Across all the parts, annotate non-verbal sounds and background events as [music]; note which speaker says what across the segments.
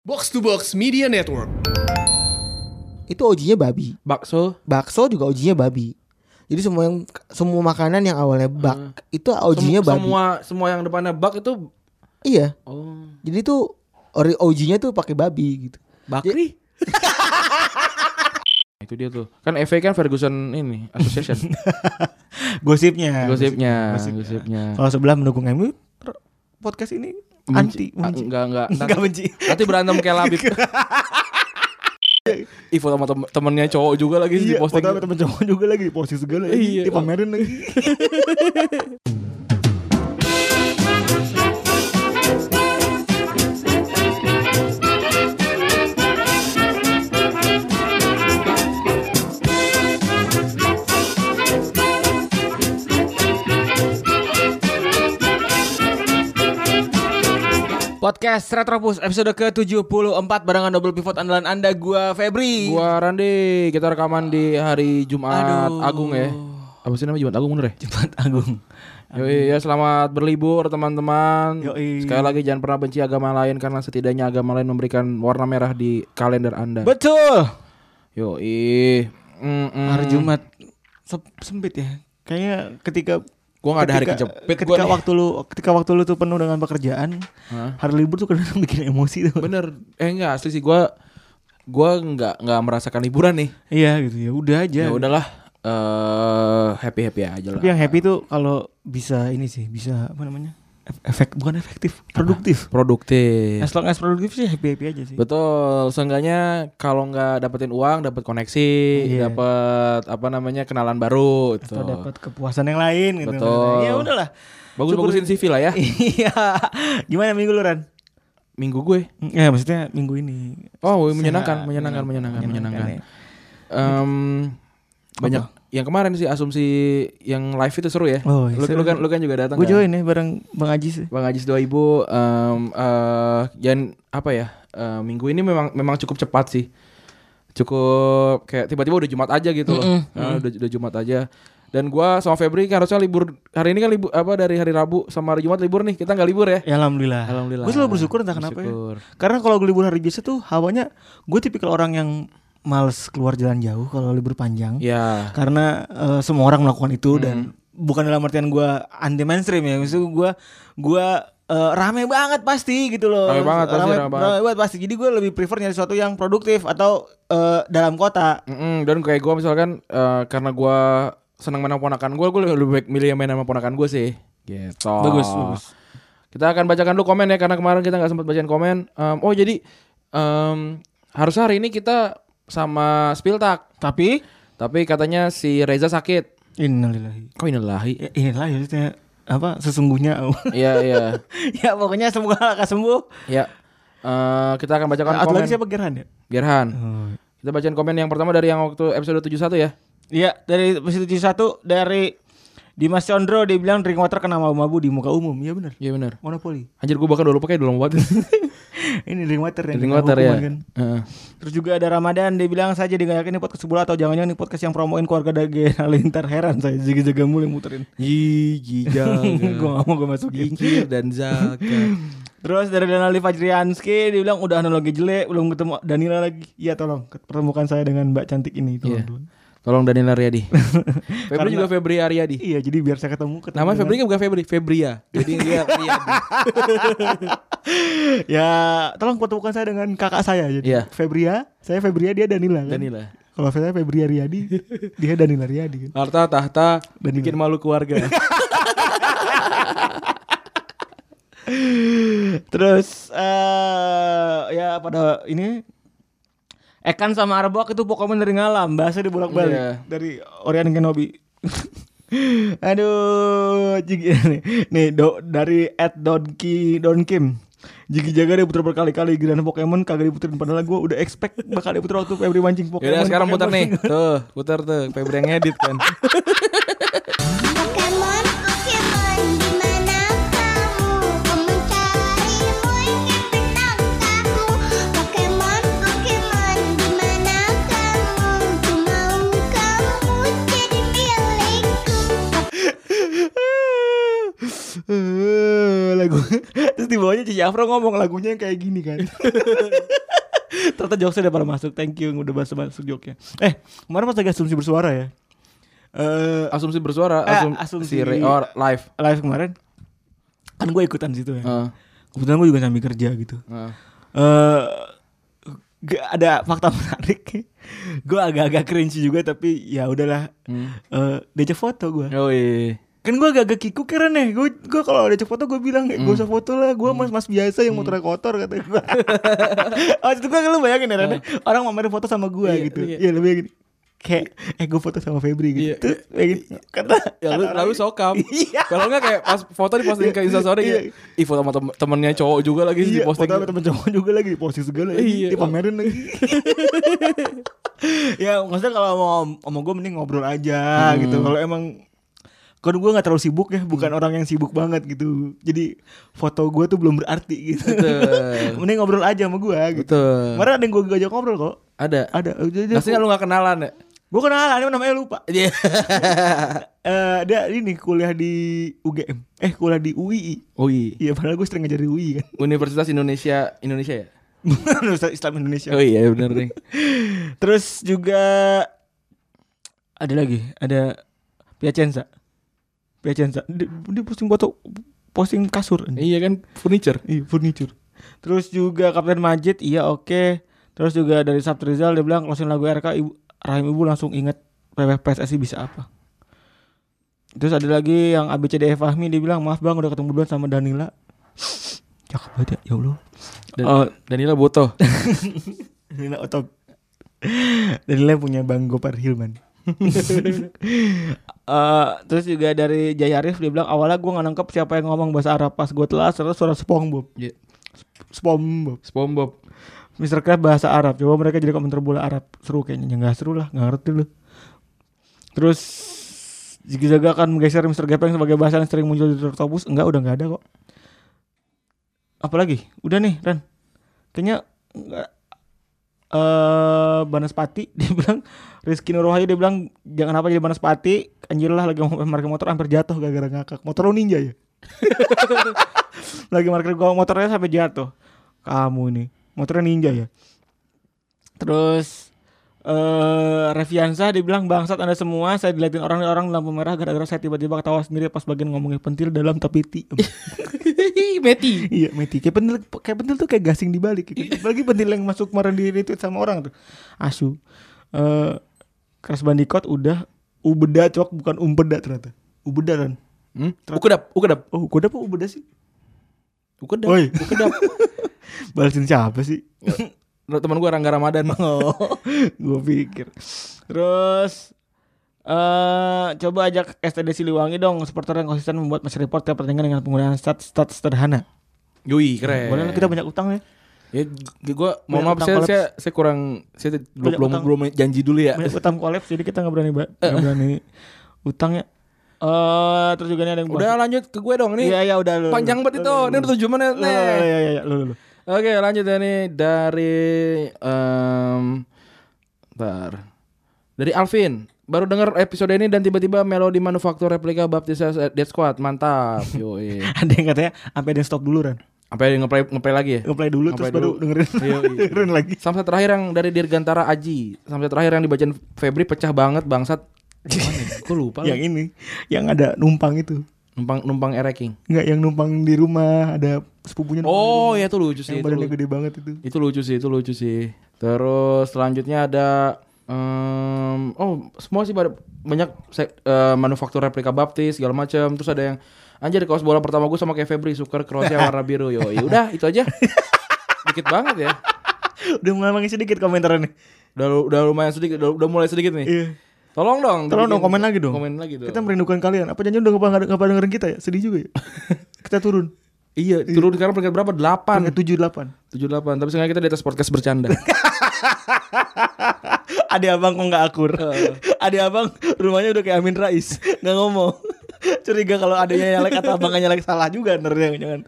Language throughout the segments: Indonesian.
Speaker 1: Box to Box Media Network.
Speaker 2: itu OG-nya babi.
Speaker 3: bakso
Speaker 2: Bakso juga OG-nya babi. Jadi semua yang semua makanan yang awalnya bak
Speaker 4: Hmm.
Speaker 2: itu OG-nya
Speaker 3: Semu-
Speaker 2: babi.
Speaker 3: semua semua yang depannya bak itu
Speaker 2: Iya.
Speaker 3: oh
Speaker 2: Jadi tuh ori- OG-nya tuh pakai babi gitu.
Speaker 3: bakri itu dia tuh kan FA kan Ferguson ini association
Speaker 4: Gosipnya.
Speaker 3: gosipnya
Speaker 4: Gosip-
Speaker 3: gosipnya
Speaker 4: Kalau sebelah mendukung MU, ter- podcast ini anti,
Speaker 3: Ah,
Speaker 4: benci.
Speaker 3: enggak enggak
Speaker 4: Enggak
Speaker 3: nanti,
Speaker 4: benci.
Speaker 3: nanti berantem kayak labib Ivo sama tem temennya cowok juga lagi di
Speaker 4: Iya,
Speaker 3: posting gitu.
Speaker 4: padahal temen cowok juga lagi di posting segala
Speaker 3: Iya.
Speaker 4: lagi, dipamerin lagi.
Speaker 3: podcast Retropus
Speaker 2: Episode ke-74 barengan double pivot andalan Anda gua Febri.
Speaker 3: gua Randi kita rekaman di hari Jumat
Speaker 2: Aduh.
Speaker 3: Agung ya apa sih namanya Jumat Agung bener ya
Speaker 4: Jumat Agung.
Speaker 3: Yoi, ya selamat berlibur teman-teman.
Speaker 4: Yoi.
Speaker 3: Sekali lagi jangan pernah benci agama lain karena setidaknya agama lain memberikan warna merah di kalender Anda.
Speaker 4: Betul.
Speaker 3: Yoi. Mm-mm.
Speaker 4: Hari Jumat sep- sempit ya. Kayaknya ketika
Speaker 3: Gua nggak ada hari
Speaker 4: ketika-
Speaker 3: kejepit gua
Speaker 4: Ketika
Speaker 3: nih.
Speaker 4: waktu lu ketika waktu lu tuh penuh dengan pekerjaan,
Speaker 3: Hah?
Speaker 4: hari libur tuh kadang [laughs] bikin emosi tuh.
Speaker 3: Bener. Eh enggak asli sih gua gua nggak nggak merasakan liburan nih.
Speaker 4: Iya gitu ya, udah aja.
Speaker 3: Ya udahlah eh happy-happy aja lah.
Speaker 4: Tapi yang happy tuh kalau bisa ini sih, bisa apa namanya? Ef- Efek bukan efektif, produktif.
Speaker 3: produktif.
Speaker 4: As long as produktif sih happy happy aja sih.
Speaker 3: Betul, seenggaknya kalau nggak dapetin uang, dapat koneksi,
Speaker 4: Iya.
Speaker 3: dapat apa namanya kenalan baru. gitu. itu.
Speaker 4: Atau dapat kepuasan yang lain gitu.
Speaker 3: Betul.
Speaker 4: Ya udahlah. [laughs]
Speaker 3: Bagus-bagusin CV lah ya.
Speaker 4: Iya. Gimana minggu lu Ran?
Speaker 3: Minggu gue.
Speaker 4: Ya maksudnya minggu ini.
Speaker 3: Oh,
Speaker 4: Sehat,
Speaker 3: menyenangkan, menyenangkan, menyenangkan, menyenangkan.
Speaker 4: menyenangkan, ya.
Speaker 3: Em, banyak yang kemarin sih asumsi yang live itu seru ya.
Speaker 4: Oh,
Speaker 3: lu,
Speaker 4: seru.
Speaker 3: lu kan lu kan juga datang.
Speaker 4: Gue
Speaker 3: kan?
Speaker 4: join ya bareng Bang Ajis. ya.
Speaker 3: Bang Ajis 2000 em eh, dan apa ya? eh, minggu ini memang memang cukup cepat sih. Cukup kayak tiba-tiba udah Jumat aja gitu loh. Eh, udah udah Jumat aja. Dan gua sama Febri kan harusnya libur hari ini kan libur apa dari hari Rabu sama hari Jumat libur nih. Kita nggak libur ya.
Speaker 4: Ya alhamdulillah.
Speaker 3: Alhamdulillah.
Speaker 4: Gue selalu bersyukur entah kenapa ya.
Speaker 3: Bersyukur.
Speaker 4: Karena kalau gue libur hari biasa tuh hawanya gue tipikal orang yang males keluar jalan jauh kalau libur panjang.
Speaker 3: Ya.
Speaker 4: Karena eh, semua orang melakukan itu dan
Speaker 3: Hmm.
Speaker 4: bukan dalam artian gue anti mainstream ya. Maksud gue gue eh, rame banget pasti gitu loh.
Speaker 3: Rame banget pasti, rame banget.
Speaker 4: pasti. Jadi gue lebih prefer nyari sesuatu yang produktif atau eh, dalam kota.
Speaker 3: Mm-mm, dan kayak gue misalkan eh, karena gue senang main sama ponakan gue, gue lebih baik milih yang main sama ponakan gue sih. Gitu.
Speaker 4: Bagus, bagus.
Speaker 3: Kita akan bacakan dulu komen ya karena kemarin kita nggak sempat bacain komen. Em, oh jadi em, harusnya hari ini kita sama Spiltak,
Speaker 4: Tapi
Speaker 3: tapi katanya si Reza sakit.
Speaker 4: Innalillahi.
Speaker 3: Kok inilahi?
Speaker 4: Ya, inilah ya maksudnya, apa sesungguhnya.
Speaker 3: Iya iya
Speaker 4: [laughs] ya pokoknya semoga Laka sembuh.
Speaker 3: iya. Eh, kita akan bacakan
Speaker 4: Atau
Speaker 3: komen.
Speaker 4: lagi siapa Gerhan ya?
Speaker 3: Gerhan. Kita bacain komen yang pertama dari yang waktu episode 71 ya.
Speaker 4: Iya dari episode 71 dari Dimas Chandra dia bilang drink water kena mabu-mabu di muka umum. Iya benar.
Speaker 3: Iya benar.
Speaker 4: Monopoli.
Speaker 3: Anjir gue bahkan dulu pakai dulu mau [laughs] buat.
Speaker 4: [laughs] Ini drink water ya.
Speaker 3: Drink water ya.
Speaker 4: Kan.
Speaker 3: Heeh.
Speaker 4: Terus juga ada Ramadan dia bilang saja dengan yakin ini podcast sebelah atau jangan-jangan ini podcast yang promoin keluarga Dage Halilintar heran saya jaga-jaga mulai muterin.
Speaker 3: Gigi
Speaker 4: Ya, [laughs] gue
Speaker 3: [laughs]
Speaker 4: gak mau gue masukin.
Speaker 3: Kikir dan Zaka
Speaker 4: Terus dari Danali Fajrianski dia bilang udah analogi jelek belum ketemu Danila lagi. Iya tolong pertemukan saya dengan Mbak cantik ini tolong.
Speaker 3: Iya.
Speaker 4: tolong. [laughs]
Speaker 3: Tolong Daniel Ariadi Febri juga Febri Ariadi
Speaker 4: Iya jadi biar saya ketemu ketemu.
Speaker 3: Nama
Speaker 4: dengan-
Speaker 3: Febri kan bukan Febri Febria Jadi
Speaker 4: [laughs]
Speaker 3: dia Ariadi
Speaker 4: ya tolong pertemukan saya dengan kakak saya jadi
Speaker 3: Iya.
Speaker 4: Febria saya Febria dia Danila kan?
Speaker 3: Danila
Speaker 4: kalau saya Febria Riyadi dia Danila Riyadi kan
Speaker 3: Harta tahta
Speaker 4: Danila.
Speaker 3: Bikin
Speaker 4: [laughs]
Speaker 3: malu keluarga
Speaker 4: terus eh ya pada ini Ekan sama Arbok itu Pokemon dari ngalam bahasa dibolak balik
Speaker 3: Iya.
Speaker 4: dari Orion Kenobi [laughs] Aduh, jigi nih, nih do, dari at Donki Don Kim. Jigi jaga dia putar berkali-kali giliran Pokemon kagak diputerin padahal gue udah expect bakal diputer waktu Febri mancing Pokemon.
Speaker 3: Yaudah sekarang putar
Speaker 4: Pokemon.
Speaker 3: nih Tuh putar tuh Febri yang ngedit
Speaker 4: [laughs]
Speaker 3: kan
Speaker 5: Pokemon, Pokemon, di mana kamu? Ku mencarimu ingin bertangkapmu. Pokemon, Pokemon, di mana kamu? Ku mau kamu jadi milikku.
Speaker 4: [laughs] Eh, lagu terus di bawahnya cici Afro ngomong lagunya yang kayak gini kan. [laughs] Ternyata jokesnya udah pada masuk. Thank you yang udah bahas masuk jokesnya. Eh, kemarin pas lagi asumsi bersuara ya. Eh,
Speaker 3: asumsi bersuara
Speaker 4: Eh,
Speaker 3: asum-
Speaker 4: asumsi-
Speaker 3: si Re- or live
Speaker 4: live kemarin kan gue ikutan situ ya.
Speaker 3: Heeh.
Speaker 4: Kebetulan gue juga sambil kerja gitu.
Speaker 3: Heeh.
Speaker 4: eh g- ada fakta menarik. [laughs] gue agak-agak cringe juga tapi ya udahlah. Eh, diajak foto gue.
Speaker 3: Hmm. Yoi.
Speaker 4: Kan gue agak-agak kikuk keren ya. Gue gue kalau diajak foto gue bilang
Speaker 3: Hmm.
Speaker 4: gue usah foto lah. Gue mas-mas biasa yang motornya kotor kata
Speaker 3: [laughs]
Speaker 4: gue. oh itu gue lu bayangin ya Ren,
Speaker 3: Nah.
Speaker 4: ya? Orang mau foto sama gue gitu. Iya lebih gini. Kayak eh gue foto sama Febri gitu.
Speaker 3: Iya.
Speaker 4: Terus kayak gitu. Kata
Speaker 3: Ya lu,
Speaker 4: kata
Speaker 3: lalu
Speaker 4: orang-
Speaker 3: sokap
Speaker 4: [laughs] Iya.
Speaker 3: Kalau enggak kayak pas foto diposting ke Instastory
Speaker 4: Iya.
Speaker 3: ya Ih foto sama tem- temennya cowok juga lagi
Speaker 4: Iya,
Speaker 3: diposting
Speaker 4: foto sama temen cowok juga lagi posting segala
Speaker 3: Iya.
Speaker 4: lagi, dipamerin lagi. [laughs] ya maksudnya kalau mau ngomong gue mending ngobrol aja gitu. Kalau emang kan gue nggak terlalu sibuk ya, bukan orang yang sibuk banget gitu. Jadi foto gue tuh belum berarti gitu. [laughs]
Speaker 3: Betul.
Speaker 4: mending ngobrol aja sama gue gitu.
Speaker 3: Betul.
Speaker 4: Kemarin ada yang gue ajak ngobrol kok.
Speaker 3: Ada
Speaker 4: Ada. eh,
Speaker 3: Pasti lu gak kenalan ya
Speaker 4: Gue kenal, ada namanya [laughs] lupa.
Speaker 3: Iya
Speaker 4: Eh dia ini kuliah di UGM. Eh kuliah di UI.
Speaker 3: Ui
Speaker 4: Iya padahal gue sering ngajar di UI [laughs] kan.
Speaker 3: Oh Universitas Indonesia Indonesia ya
Speaker 4: Universitas Islam Indonesia.
Speaker 3: Oh iya bener nih
Speaker 4: Terus juga ada lagi, ada Piacenza. Piacenza. Dia, dia posting foto posting kasur.
Speaker 3: [laughs] Iya kan furniture
Speaker 4: Iya, furniture. Terus juga Kapten Majid, iya oke. Terus juga dari Sabtu Rizal dia bilang closing lagu RK ibu, Rahim Ibu langsung inget PPF PSSI bisa apa. Terus ada lagi yang ABCDE E Fahmi dia bilang maaf bang udah ketemu duluan sama Danila. [sniffs] Cakep banget ya, ya Allah.
Speaker 3: Dan,
Speaker 4: Oh.
Speaker 3: Danila Boto
Speaker 4: Danila Otop. Danila punya Bang Gopar Hilman. [laughs] Eh, terus juga dari Jaya Arif dia bilang awalnya gue nggak nangkep siapa yang ngomong bahasa Arab pas gue telah terus suara SpongeBob.
Speaker 3: [laughs] Iya.
Speaker 4: SpongeBob.
Speaker 3: SpongeBob
Speaker 4: Mr. Krab bahasa Arab. Coba mereka jadi komentar bola Arab. Seru kayaknya. Ya nggak seru lah, nggak ngerti lu. Terus Jika Zaga akan menggeser Mr. Gepeng sebagai bahasa yang sering muncul di Tertobus. Enggak, udah nggak ada kok. Apalagi? Udah nih, Ren. Kayaknya nggak- eh Banaspati [laughs] dia bilang Rizky Nur Wahyu dia bilang jangan apa jadi Banaspati anjir lah lagi mau market motor hampir jatuh gara-gara ngakak motor lu ninja ya lagi market gua motornya sampai jatuh kamu nih motornya ninja ya terus eh Reviansa dia bilang bangsat anda semua saya diliatin orang-orang lampu merah gara-gara saya tiba-tiba ketawa sendiri pas bagian ngomongnya pentil dalam tapi ti
Speaker 3: [laughs] Meti
Speaker 4: Iya Meti Kayak pentil Kayak pentil tuh kayak gasing dibalik ya.
Speaker 3: [laughs]
Speaker 4: Apalagi pentil yang masuk kemarin di retweet sama orang tuh Asu Eh Crash Bandicoot udah Ubeda cok bukan Umbeda ternyata Ubeda kan
Speaker 3: hmm? Ukedap Ukedap
Speaker 4: Oh kuda apa Ubeda sih?
Speaker 3: Ukedap
Speaker 4: Woi. [laughs]
Speaker 3: Ukedap
Speaker 4: Balasin siapa sih?
Speaker 3: Temen gue Rangga [laughs] Ramadan
Speaker 4: [laughs] Oh gue pikir Terus eh coba ajak STD Siliwangi dong supporter yang konsisten membuat match report tiap pertandingan dengan penggunaan stat-stat sederhana.
Speaker 3: Yui keren
Speaker 4: Boleh kita banyak utang ya.
Speaker 3: Ya, gue mohon
Speaker 4: Banyak
Speaker 3: maaf
Speaker 4: utang
Speaker 3: saya,
Speaker 4: kolaps.
Speaker 3: saya saya kurang saya t-
Speaker 4: Banyak
Speaker 3: belum belum
Speaker 4: utang.
Speaker 3: belum janji dulu ya.
Speaker 4: banyak utang kolaps jadi kita nggak berani ba-
Speaker 3: Eh.
Speaker 4: nggak berani utang ya Eh terus juga ini ada yang
Speaker 3: Udah
Speaker 4: bahas-
Speaker 3: lanjut ke gue dong nih.
Speaker 4: iya iya udah lu
Speaker 3: Panjang
Speaker 4: lu-
Speaker 3: banget
Speaker 4: lu-
Speaker 3: itu.
Speaker 4: lu-
Speaker 3: Ini udah tujuh menit
Speaker 4: lu- lu-
Speaker 3: nih.
Speaker 4: lu- iya iya iya lu lu [laughs] lu.
Speaker 3: Oke, lanjut ya nih dari em bentar. Dari Alvin. Baru denger episode ini dan tiba-tiba melodi manufaktur replika Baptista Dead Squad. [laughs] Mantap. Yoi.
Speaker 4: ada yang katanya sampai dia stop dulu Ran
Speaker 3: Apa yang ngeplay ngeplay lagi ya?
Speaker 4: ngeplay dulu terus
Speaker 3: Ngeplay
Speaker 4: baru
Speaker 3: dulu.
Speaker 4: dengerin
Speaker 3: Iya, iya.
Speaker 4: [laughs] dengerin lagi
Speaker 3: Samsat terakhir yang dari Dirgantara Aji. Samsat terakhir yang dibacain Febri pecah banget [laughs] bangsat. Mana ya? Gue lupa.
Speaker 4: yang
Speaker 3: lagi.
Speaker 4: ini yang ada numpang itu
Speaker 3: Numpang numpang ereking.
Speaker 4: nggak yang numpang di rumah ada sepupunya numpang di
Speaker 3: Oh
Speaker 4: rumah.
Speaker 3: ya itu lucu sih
Speaker 4: yang
Speaker 3: itu,
Speaker 4: badannya
Speaker 3: lucu.
Speaker 4: gede banget itu
Speaker 3: Itu lucu sih itu lucu sih Terus selanjutnya ada em, Oh semua sih pada- banyak se- eh, manufaktur replika baptis segala macam Terus ada yang Anjir kaos bola pertama gue sama kayak Febri Suker crossnya warna biru Yo
Speaker 4: [laughs]
Speaker 3: ya udah itu aja Dikit banget ya
Speaker 4: [laughs] udah mengalami sedikit komentarnya
Speaker 3: Udah, lu- udah lumayan sedikit udah, udah mulai sedikit nih
Speaker 4: iya
Speaker 3: Tolong dong
Speaker 4: Tolong dong,
Speaker 3: dibikin-
Speaker 4: komen lagi dong.
Speaker 3: Komen lagi dong
Speaker 4: kita merindukan kalian apa janjian udah nggak nggak pada dengerin kita ya sedih juga ya [laughs] kita turun
Speaker 3: Iya turun sekarang peringkat berapa? 8
Speaker 4: Peringkat tujuh [laughs] delapan
Speaker 3: 78 Tapi sekarang kita di atas podcast
Speaker 4: [laughs]
Speaker 3: bercanda
Speaker 4: Ada abang kok nggak akur. [laughs] Ada abang rumahnya udah kayak Amin Rais, [laughs] nggak ngomong. Curiga kalau adanya nyalek atau abangnya nyalek salah juga ntar yang jangan.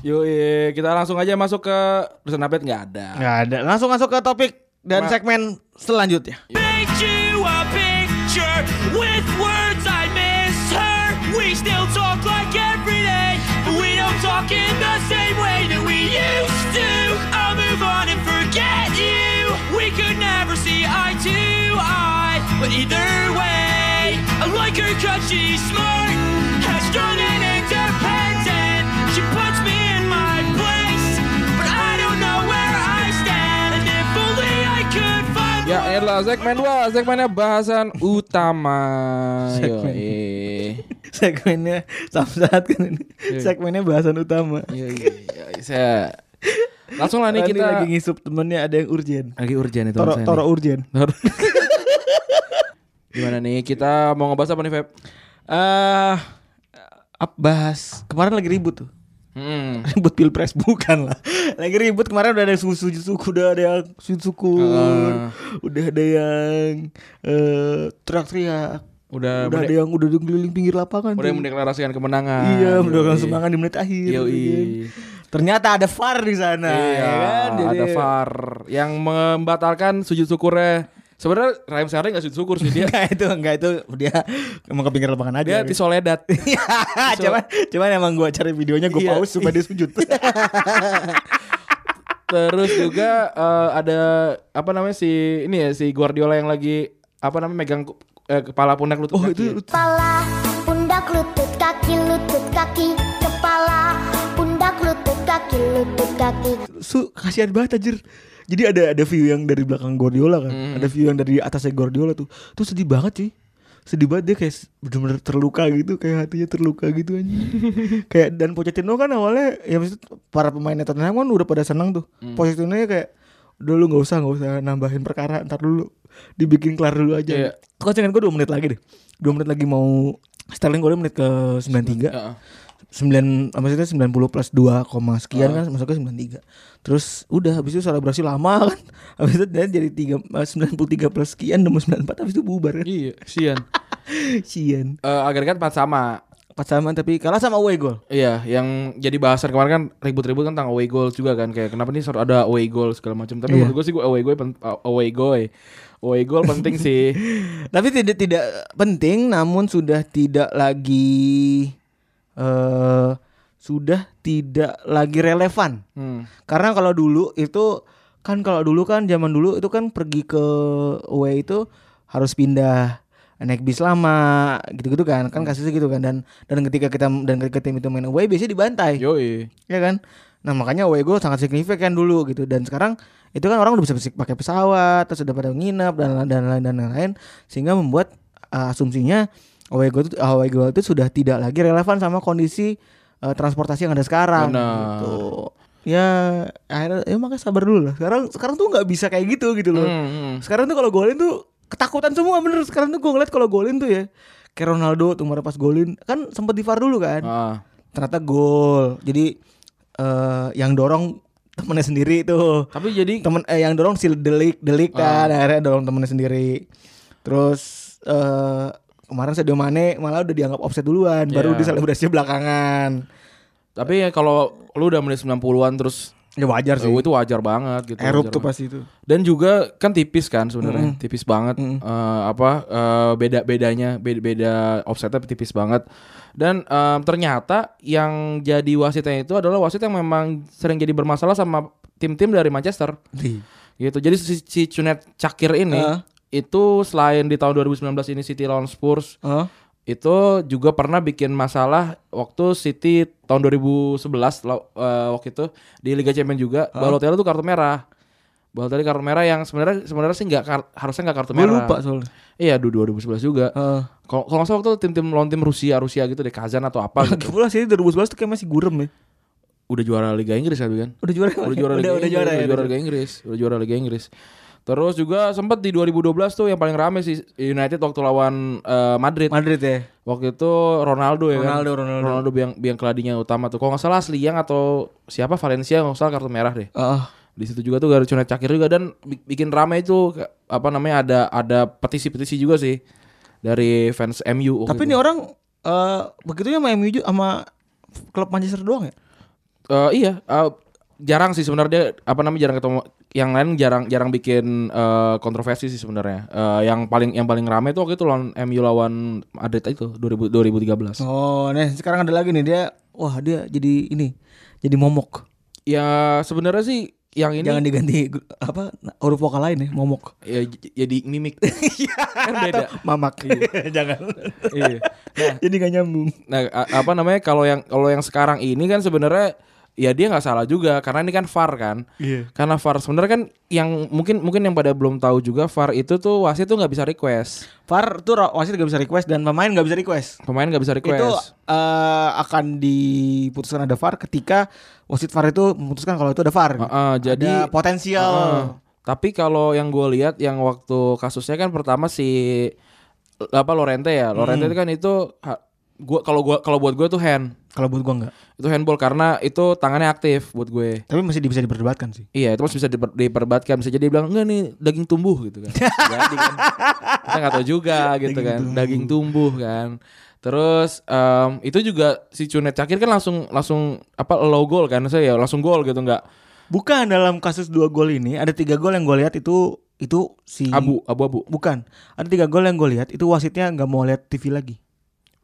Speaker 3: Yoi kita langsung aja masuk ke Pesan update nggak ada
Speaker 4: Nggak ada. Langsung masuk ke topik dan
Speaker 3: Ma-
Speaker 4: segmen selanjutnya.
Speaker 6: paint you a picture with words I misheard. We still talk like every day, but we don't talk walk in the same way that we used to. I'll move on and forget you. We could never see eye to eye, but either way, I like her 'cause she's smart, has strong and independent. She puts me in my place, but I don't know where I stand. And if only I could find.
Speaker 3: Ya elah segmen 2 Segmennya bahasan utama eh.
Speaker 4: Segmen.
Speaker 3: Yoi.
Speaker 4: [laughs] segmennya samsat kan ini. segmennya bahasan utama
Speaker 3: Yoi, yoi, Saya Langsung lah nih
Speaker 4: Rani
Speaker 3: kita
Speaker 4: lagi ngisup temennya ada yang urgen
Speaker 3: lagi urgen itu
Speaker 4: toro
Speaker 3: rasanya
Speaker 4: toro
Speaker 3: nih.
Speaker 4: urgen
Speaker 3: Toro. Gimana nih kita mau ngebahas apa nih Feb?
Speaker 4: eh ap- bahas kemarin lagi ribut tuh [laughs]
Speaker 3: Hmm.
Speaker 4: ribut pilpres bukan lah lagi ribut kemarin udah ada yang sujud suku udah ada yang sujud syukur
Speaker 3: Ah.
Speaker 4: udah ada yang eh teriak-teriak
Speaker 3: Udah
Speaker 4: udah ada
Speaker 3: mende-
Speaker 4: yang udah di keliling pinggir lapangan
Speaker 3: udah
Speaker 4: tuh.
Speaker 3: mendeklarasikan kemenangan.
Speaker 4: iya udah
Speaker 3: Ah, Yoi.
Speaker 4: langsung semangat di menit akhir
Speaker 3: Yoi.
Speaker 4: gitu kan. ternyata ada far di sana
Speaker 3: iya,
Speaker 4: ya kan? Jadi-
Speaker 3: ada VAR yang membatalkan sujud syukurnya. Sebenarnya Raheem Sterling gak sujud syukur sih dia.
Speaker 4: [laughs] Enggak itu, enggak itu dia emang ke pinggir lapangan aja.
Speaker 3: dia di Soledad.
Speaker 4: [laughs]
Speaker 3: [laughs]
Speaker 4: Iya, cuman cuman emang gua cari videonya gua
Speaker 3: Iya.
Speaker 4: pause supaya dia sujud.
Speaker 3: [laughs] Terus juga eh, ada apa namanya si ini ya si Guardiola yang lagi apa namanya megang eh, kepala pundak lutut.
Speaker 4: oh,
Speaker 3: kaki ya.
Speaker 4: itu itu-
Speaker 5: Kepala, pundak, lutut, kaki, lutut, kaki, kepala, pundak, lutut, kaki, lutut, kaki.
Speaker 4: su kasihan banget anjir. Jadi ada ada view yang dari belakang Guardiola kan. Ada view yang dari atasnya Guardiola tuh. Tuh sedih banget cuy. Sedih banget dia kayak bener-bener terluka gitu, kayak hatinya terluka gitu anjir. kayak dan Pochettino kan awalnya ya maksud para pemain Tottenham kan udah pada senang tuh. Pochettino nya kayak udah lu nggak usah nggak usah nambahin perkara ntar dulu dibikin kelar dulu aja
Speaker 3: Iya.
Speaker 4: Kok dengan gue 2 menit lagi deh. 2 menit lagi mau Sterling golnya menit ke 93.
Speaker 3: Heeh.
Speaker 4: 9 maksudnya 90 plus 2, koma sekian kan masuknya 93. Terus udah habis itu selebrasi lama kan. [laughs] Habis itu dia jadi 3 eh, 93 plus sekian nemu 94 habis itu bubar kan. [laughs]
Speaker 3: Iya, kesian.
Speaker 4: Sian.
Speaker 3: [laughs] Eh, agregat empat sama.
Speaker 4: Pas sama tapi kalah sama away goal.
Speaker 3: Iya, yang jadi bahasan kemarin kan ribut-ribut kan tentang away goal juga kan kayak kenapa nih selalu ada away goal segala macam. Tapi
Speaker 4: Iya.
Speaker 3: menurut gue sih gue away goal pen- away goal. Away goal penting
Speaker 4: [laughs]
Speaker 3: sih.
Speaker 4: Tapi tidak tidak penting namun sudah tidak lagi eh sudah tidak lagi relevan.
Speaker 3: Hmm.
Speaker 4: Karena kalau dulu itu kan kalau dulu kan zaman dulu itu kan pergi ke away itu harus pindah naik bis lama gitu-gitu kan kan kasusnya gitu kan dan dan ketika kita dan ketika tim itu main away biasanya dibantai
Speaker 3: Yoi.
Speaker 4: ya kan nah makanya away goal sangat signifikan dulu gitu dan sekarang itu kan orang udah bisa pes- pakai pesawat terus udah pada nginap dan lain- dan lain dan lain sehingga membuat uh, asumsinya away goal itu away goal itu sudah tidak lagi relevan sama kondisi uh, transportasi yang ada sekarang
Speaker 3: Benar.
Speaker 4: gitu ya akhirnya ya makanya sabar dulu lah sekarang sekarang tuh nggak bisa kayak gitu gitu loh
Speaker 3: Hmm, hmm.
Speaker 4: sekarang tuh kalau golin tuh ketakutan semua bener sekarang tuh gue ngeliat kalau golin tuh ya kayak Ronaldo tuh kemarin pas golin kan sempet di VAR dulu kan
Speaker 3: Ah.
Speaker 4: ternyata gol. Jadi eh yang dorong temennya sendiri tuh.
Speaker 3: Tapi jadi
Speaker 4: Temen eh, yang dorong si Delik, Delik kan
Speaker 3: Ah.
Speaker 4: akhirnya dorong temennya sendiri. Terus eh kemarin Sadio Mane malah udah dianggap offset duluan, baru
Speaker 3: Iya.
Speaker 4: di selebrasi belakangan.
Speaker 3: tapi ya kalau lu udah menit 90-an terus
Speaker 4: Ya wajar sih.
Speaker 3: eh, itu wajar banget gitu.
Speaker 4: Erup
Speaker 3: wajar
Speaker 4: tuh
Speaker 3: banget.
Speaker 4: pasti itu.
Speaker 3: Dan juga kan tipis kan sebenarnya, tipis banget. Eh, apa eh, beda bedanya beda, beda offsetnya tipis banget. Dan em, ternyata yang jadi wasitnya itu adalah wasit yang memang sering jadi bermasalah sama tim-tim dari Manchester. Gitu. Jadi si, si Cunet Cakir ini
Speaker 4: Ah.
Speaker 3: itu selain di tahun 2019 ini City lawan Spurs
Speaker 4: Heeh.
Speaker 3: itu juga pernah bikin masalah waktu City tahun 2011 lo- eh, waktu itu di Liga Champions juga Balotelli tuh kartu merah. Balotelli kartu merah yang sebenarnya sebenarnya sih nggak kar- harusnya nggak kartu
Speaker 4: Gue
Speaker 3: merah.
Speaker 4: lupa soalnya.
Speaker 3: Iya, du- 2011 juga.
Speaker 4: Heeh.
Speaker 3: Kalau kalau nggak salah waktu itu tim-tim lawan tim Rusia Rusia gitu deh Kazan atau apa
Speaker 4: Lagi
Speaker 3: gitu.
Speaker 4: Ya pula sih 2011 tuh kayak masih gurem ya.
Speaker 3: Udah juara Liga Inggris kan? kan?
Speaker 4: Udah juara.
Speaker 3: Udah juara Liga
Speaker 4: udah,
Speaker 3: Inggris,
Speaker 4: udah juara ya.
Speaker 3: udah juara Liga Inggris, udah juara Liga Inggris. Terus juga sempat di 2012 tuh yang paling rame sih United waktu lawan eh, Madrid.
Speaker 4: Madrid ya.
Speaker 3: Waktu itu Ronaldo ya
Speaker 4: Ronaldo,
Speaker 3: kan?
Speaker 4: Ronaldo.
Speaker 3: biang, biang keladinya utama tuh. Kalau nggak salah Liang atau siapa Valencia nggak salah kartu merah deh.
Speaker 4: Heeh.
Speaker 3: Di situ juga tuh gara cunet cakir juga dan bi- bikin ramai itu ke- apa namanya ada ada petisi-petisi juga sih dari fans MU. waktu
Speaker 4: Tapi
Speaker 3: itu.
Speaker 4: ini orang eh begitunya sama MU ju- sama klub Manchester doang ya?
Speaker 3: Eh, iya eh, jarang sih sebenarnya apa namanya jarang ketemu yang lain jarang jarang bikin eh, kontroversi sih sebenarnya. Eh, yang paling yang paling ramai tuh waktu itu lawan MU lawan Madrid itu 2000, 2013.
Speaker 4: Oh, nih Oh, sekarang ada lagi nih dia wah dia jadi ini jadi momok.
Speaker 3: Ya sebenarnya sih yang ini
Speaker 4: Jangan diganti gu- apa huruf vokal lain ya, momok.
Speaker 3: ya j- jadi
Speaker 4: [laughs]
Speaker 3: mimik.
Speaker 4: Iya.
Speaker 3: kan beda.
Speaker 4: Mamak. [laughs] Jangan.
Speaker 3: Iya.
Speaker 4: [laughs] jadi gak nyambung.
Speaker 3: Nah, a- apa namanya kalau yang kalau yang sekarang ini kan sebenarnya ya dia nggak salah juga karena ini kan VAR kan.
Speaker 4: Iya.
Speaker 3: Karena VAR sebenarnya kan yang mungkin mungkin yang pada belum tahu juga VAR itu tuh wasit tuh nggak bisa request.
Speaker 4: VAR tuh ro- wasit gak bisa request dan pemain gak bisa request.
Speaker 3: Pemain nggak bisa request.
Speaker 4: Itu eh, akan diputuskan ada VAR ketika wasit VAR itu memutuskan kalau itu ada VAR.
Speaker 3: Heeh, jadi
Speaker 4: ada potensial.
Speaker 3: Heeh. Tapi kalau yang gue lihat yang waktu kasusnya kan pertama si apa Lorente ya.
Speaker 4: Hmm.
Speaker 3: Lorente itu kan itu ha- gua kalau gua kalau buat gue tuh hand.
Speaker 4: Kalau buat gua enggak.
Speaker 3: Itu handball karena itu tangannya aktif buat gue.
Speaker 4: Tapi masih di- bisa diperdebatkan sih.
Speaker 3: Iya, itu masih bisa diper, diperdebatkan. Bisa jadi bilang enggak nih daging tumbuh gitu
Speaker 4: [laughs]
Speaker 3: kan. jadi kan. Kita nggak tahu juga gitu kan. Daging tumbuh kan. Terus em, itu juga si Cunet Cakir kan langsung langsung apa low goal kan saya ya langsung gol gitu nggak
Speaker 4: Bukan dalam kasus dua gol ini ada tiga gol yang gue lihat itu itu si
Speaker 3: abu abu abu
Speaker 4: Bukan. Ada tiga gol yang gue lihat itu wasitnya nggak mau lihat TV lagi.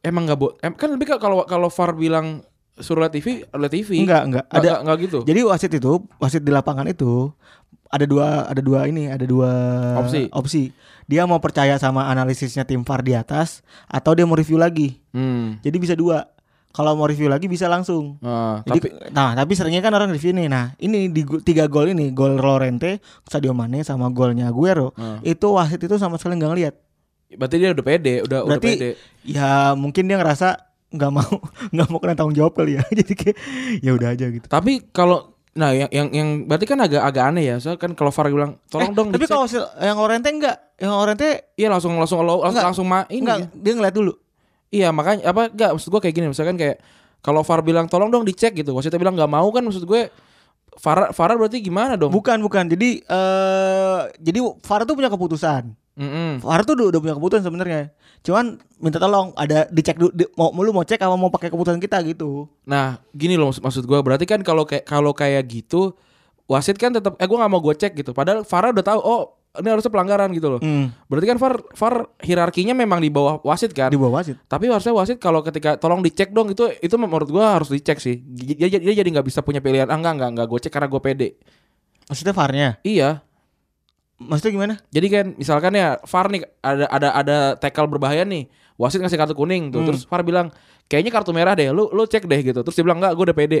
Speaker 3: Emang nggak bo- em- kan lebih ke- kalau kalau VAR bilang suruh lihat TV, lihat TV.
Speaker 4: Enggak, enggak.
Speaker 3: Ada
Speaker 4: Ada
Speaker 3: enggak gitu.
Speaker 4: jadi wasit itu wasit di lapangan itu ada dua ada dua ini ada dua
Speaker 3: Opsi.
Speaker 4: Dia mau percaya sama analisisnya tim VAR di atas atau dia mau review lagi.
Speaker 3: Hmm.
Speaker 4: Jadi bisa dua. Kalau mau review lagi bisa langsung.
Speaker 3: Ah,
Speaker 4: Jadi,
Speaker 3: tapi
Speaker 4: nah tapi seringnya kan orang review nih. Nah ini di gu- tiga gol ini gol Lorente, Sadio Mane sama golnya Aguero
Speaker 3: Hmm.
Speaker 4: itu wasit itu sama sekali nggak ngeliat.
Speaker 3: berarti dia udah pede, udah udah
Speaker 4: Berarti
Speaker 3: pede.
Speaker 4: ya mungkin dia ngerasa nggak mau [laughs] nggak mau kena tanggung jawab kali ya. [laughs] Jadi kayak ya udah aja gitu.
Speaker 3: Tapi kalau nah yang yang yang berarti kan agak agak aneh ya. Soalnya kan kalau VAR bilang
Speaker 4: Eh,
Speaker 3: tolong dong
Speaker 4: Tapi
Speaker 3: dicek."
Speaker 4: kalau wasit- yang Lorente enggak, yang Lorente
Speaker 3: iya langsung langsung lo- langsung,
Speaker 4: Enggak,
Speaker 3: langsung ma ini.
Speaker 4: enggak
Speaker 3: ya?
Speaker 4: dia ngeliat dulu.
Speaker 3: Iya, makanya apa enggak maksud gua kayak gini misalkan kayak kalau VAR bilang tolong dong dicek gitu. Wasitnya bilang nggak mau kan maksud gue VAR VAR berarti gimana dong?
Speaker 4: Bukan bukan. Jadi eh jadi VAR tuh punya keputusan.
Speaker 3: Mm-mm.
Speaker 4: VAR tuh udah, udah punya keputusan sebenarnya. Cuman minta tolong ada dicek dulu di- mau lu mau cek apa mau pakai keputusan kita gitu.
Speaker 3: Nah, gini loh maksud, maksud gue. Berarti kan kalau kayak kalau kayak gitu wasit kan tetap eh gue nggak mau gue cek gitu. Padahal VAR udah tahu oh ini harusnya pelanggaran gitu
Speaker 4: Mm.
Speaker 3: loh. Berarti kan VAR VAR hierarkinya memang di bawah wasit kan.
Speaker 4: Di bawah wasit.
Speaker 3: Tapi harusnya wasit kalau ketika tolong dicek dong itu itu menurut gue harus dicek sih. Dia, dia, dia jadi nggak bisa punya pilihan ah enggak enggak enggak gue cek karena gue pede.
Speaker 4: Maksudnya VAR-nya.
Speaker 3: Iya.
Speaker 4: Maksudnya gimana?
Speaker 3: Jadi kan misalkan ya VAR nih ada ada ada tackle berbahaya nih. Wasit ngasih kartu kuning tuh. Terus VAR bilang, "Kayaknya kartu merah deh. Lu lu cek deh gitu." Terus dia bilang, "Enggak, gue udah pede."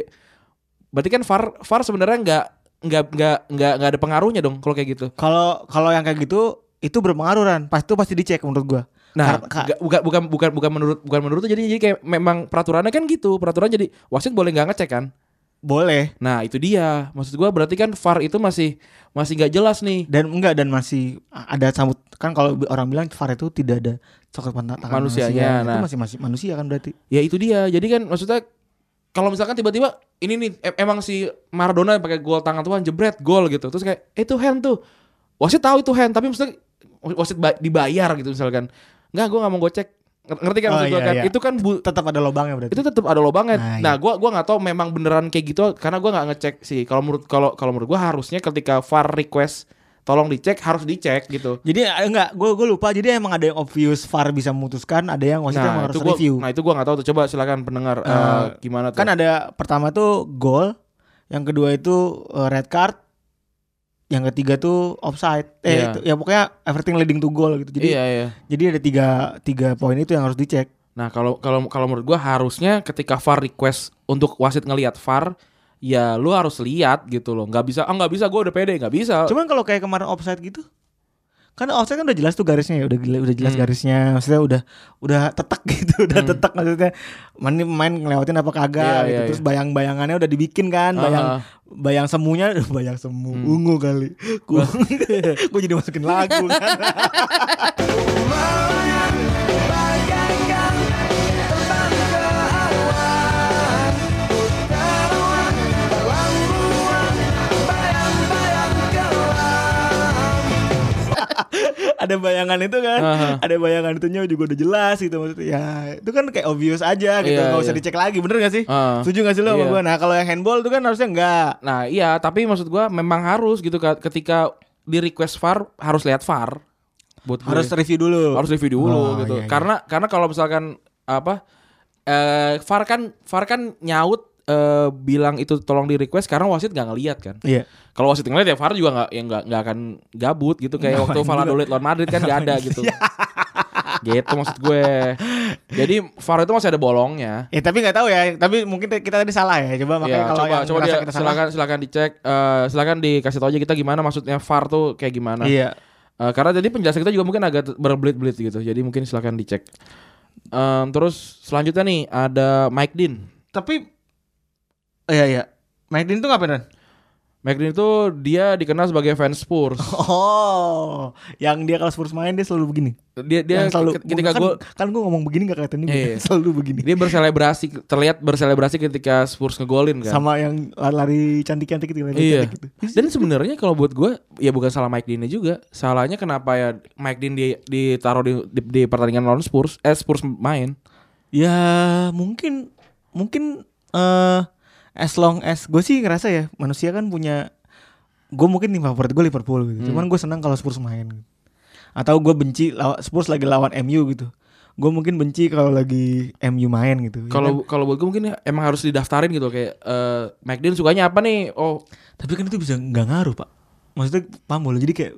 Speaker 3: Berarti kan VAR VAR sebenarnya nggak nggak nggak nggak nggak ada pengaruhnya dong kalau kayak gitu.
Speaker 4: Kalau kalau yang kayak gitu itu berpengaruh kan. Pas itu pasti dicek menurut gua.
Speaker 3: Nah,
Speaker 4: Kar- ka-
Speaker 3: nggak- bukan bukan bukan bukan menurut bukan menurut tuh jadi jadi kayak memang peraturannya kan gitu. Peraturan jadi wasit boleh nggak ngecek kan.
Speaker 4: boleh
Speaker 3: Nah, itu dia. Maksud gua berarti kan VAR itu masih masih nggak jelas nih.
Speaker 4: dan enggak dan masih ada sambut kan kalau orang bilang VAR itu tidak ada coklat pantat tangan
Speaker 3: Manusianya,
Speaker 4: manusia.
Speaker 3: nah.
Speaker 4: itu masih masih manusia kan berarti
Speaker 3: Ya itu dia. Jadi kan maksudnya kalau misalkan tiba-tiba ini nih em- emang si Maradona pakai gol tangan Tuhan jebret gol gitu. Terus kayak "Eh, itu hand tuh. Wasit tahu itu hand tapi maksudnya wasit ba- dibayar gitu misalkan. Enggak, gua nggak mau gocek. Ng- Ngerti kan
Speaker 4: Oh,
Speaker 3: maksud gua
Speaker 4: iya,
Speaker 3: kan?
Speaker 4: iya.
Speaker 3: Itu kan bu-
Speaker 4: tetap ada lubangnya berarti
Speaker 3: itu tetap ada lubangnya.
Speaker 4: Nah,
Speaker 3: Nah,
Speaker 4: iya.
Speaker 3: gua gua nggak tahu memang beneran kayak gitu karena gua nggak ngecek sih. Kalau menurut kalau kalau menurut gua harusnya ketika VAR request tolong dicek harus dicek gitu.
Speaker 4: jadi eh, enggak gue gue lupa jadi emang ada yang obvious VAR bisa memutuskan ada yang wasit yang harus
Speaker 3: itu gua,
Speaker 4: review Ah,
Speaker 3: nah itu gua nggak tahu tuh. Coba silakan pendengar eh, gimana tuh.
Speaker 4: kan ada pertama tuh gol yang kedua itu eh, red card yang ketiga tuh offside eh
Speaker 3: Iya.
Speaker 4: itu- ya pokoknya everything leading to goal gitu jadi
Speaker 3: iya iya.
Speaker 4: jadi ada tiga tiga poin itu yang harus dicek
Speaker 3: Nah, kalau kalau kalau menurut gua harusnya ketika VAR request untuk wasit ngelihat VAR, ya lu harus lihat gitu loh. nggak bisa, ah nggak bisa gua udah pede, nggak bisa.
Speaker 4: Cuman kalau kayak kemarin offside gitu kan offside kan udah jelas tuh garisnya ya udah gila- udah
Speaker 3: Hmm.
Speaker 4: jelas garisnya maksudnya udah udah tetek [laughs] gitu udah tetek maksudnya mana nih pemain ngelewatin apa kagak
Speaker 3: Iya,
Speaker 4: gitu
Speaker 3: iya,
Speaker 4: terus bayang-bayangannya udah dibikin kan bayang
Speaker 3: Ah.
Speaker 4: bayang semunya [laughs] bayang semu
Speaker 3: Hmm.
Speaker 4: ungu kali
Speaker 3: [laughs]
Speaker 4: gua [laughs] gua jadi masukin lagu kan [laughs] ada bayangan itu kan
Speaker 3: Aha.
Speaker 4: ada bayangan itunya juga udah jelas gitu maksudnya ya itu kan kayak obvious aja gitu
Speaker 3: Iya,
Speaker 4: nggak usah
Speaker 3: iya.
Speaker 4: dicek lagi bener gak sih
Speaker 3: Ah.
Speaker 4: setuju gak sih lo sama
Speaker 3: Iya.
Speaker 4: gua nah kalau yang handball itu kan harusnya enggak
Speaker 3: Nah, iya, tapi maksud gua memang harus gitu Kak. ketika di request VAR harus lihat VAR. Buat gue.
Speaker 4: harus review dulu
Speaker 3: Iya. harus review dulu
Speaker 4: Oh,
Speaker 3: gitu.
Speaker 4: iya, iya.
Speaker 3: Karena karena kalau misalkan apa eh VAR kan VAR kan nyaut eh, bilang itu tolong di request karena wasit nggak ngelihat kan.
Speaker 4: Iya.
Speaker 3: Kalau wasit ngeliat ya VAR juga nggak ya nggak nggak akan gabut gitu kayak waktu Valladolid lawan Madrid kan nggak ada gitu. gitu maksud gue. Jadi VAR itu masih ada bolongnya.
Speaker 4: Ya tapi nggak tahu ya, tapi mungkin te- kita tadi salah ya. Coba makanya
Speaker 3: Ya,
Speaker 4: kalau
Speaker 3: coba
Speaker 4: yang
Speaker 3: coba
Speaker 4: merasa
Speaker 3: dia,
Speaker 4: kita salah.
Speaker 3: silakan silakan dicek eh, silakan dikasih tau aja kita gimana maksudnya VAR tuh kayak gimana.
Speaker 4: Iya.
Speaker 3: Eh, karena jadi penjelasan kita juga mungkin agak berbelit-belit gitu. Jadi mungkin silakan dicek. Em, terus selanjutnya nih ada Mike Dean.
Speaker 4: Tapi Iya iya. Mike Dean tuh ngapain Ren?
Speaker 3: Mike Dean itu dia dikenal sebagai fans Spurs.
Speaker 4: Oh, yang dia kalau Spurs main dia selalu begini.
Speaker 3: Dia dia
Speaker 4: Oh, yang selalu
Speaker 3: ketika
Speaker 4: kan,
Speaker 3: gol
Speaker 4: kan gue ngomong begini gak kelihatan juga.
Speaker 3: Iya, iya.
Speaker 4: [laughs] selalu begini.
Speaker 3: dia berselebrasi terlihat berselebrasi ketika Spurs ngegolin kan.
Speaker 4: Sama yang lari cantik-cantik gitu, lari
Speaker 3: Iya.
Speaker 4: cantik gitu.
Speaker 3: Dan sebenarnya kalau buat gue ya bukan salah Mike Dean juga. Salahnya kenapa ya Mike Dean di ditaruh di, di, di pertandingan lawan Spurs, eh Spurs main.
Speaker 4: Ya mungkin mungkin eh as long as gue sih ngerasa ya manusia kan punya gue mungkin tim favorit gue Liverpool gitu.
Speaker 3: Hmm.
Speaker 4: Cuman gue senang kalau Spurs main. Gitu. Atau gue benci lawa- Spurs lagi lawan MU gitu. Gue mungkin benci kalau lagi MU main gitu. ya kan?
Speaker 3: Kalau kalau buat gue mungkin ya emang harus didaftarin gitu kayak eh Mike Dean sukanya apa nih? Oh,
Speaker 4: tapi kan itu bisa nggak ngaruh pak. Maksudnya paham loh. Jadi kayak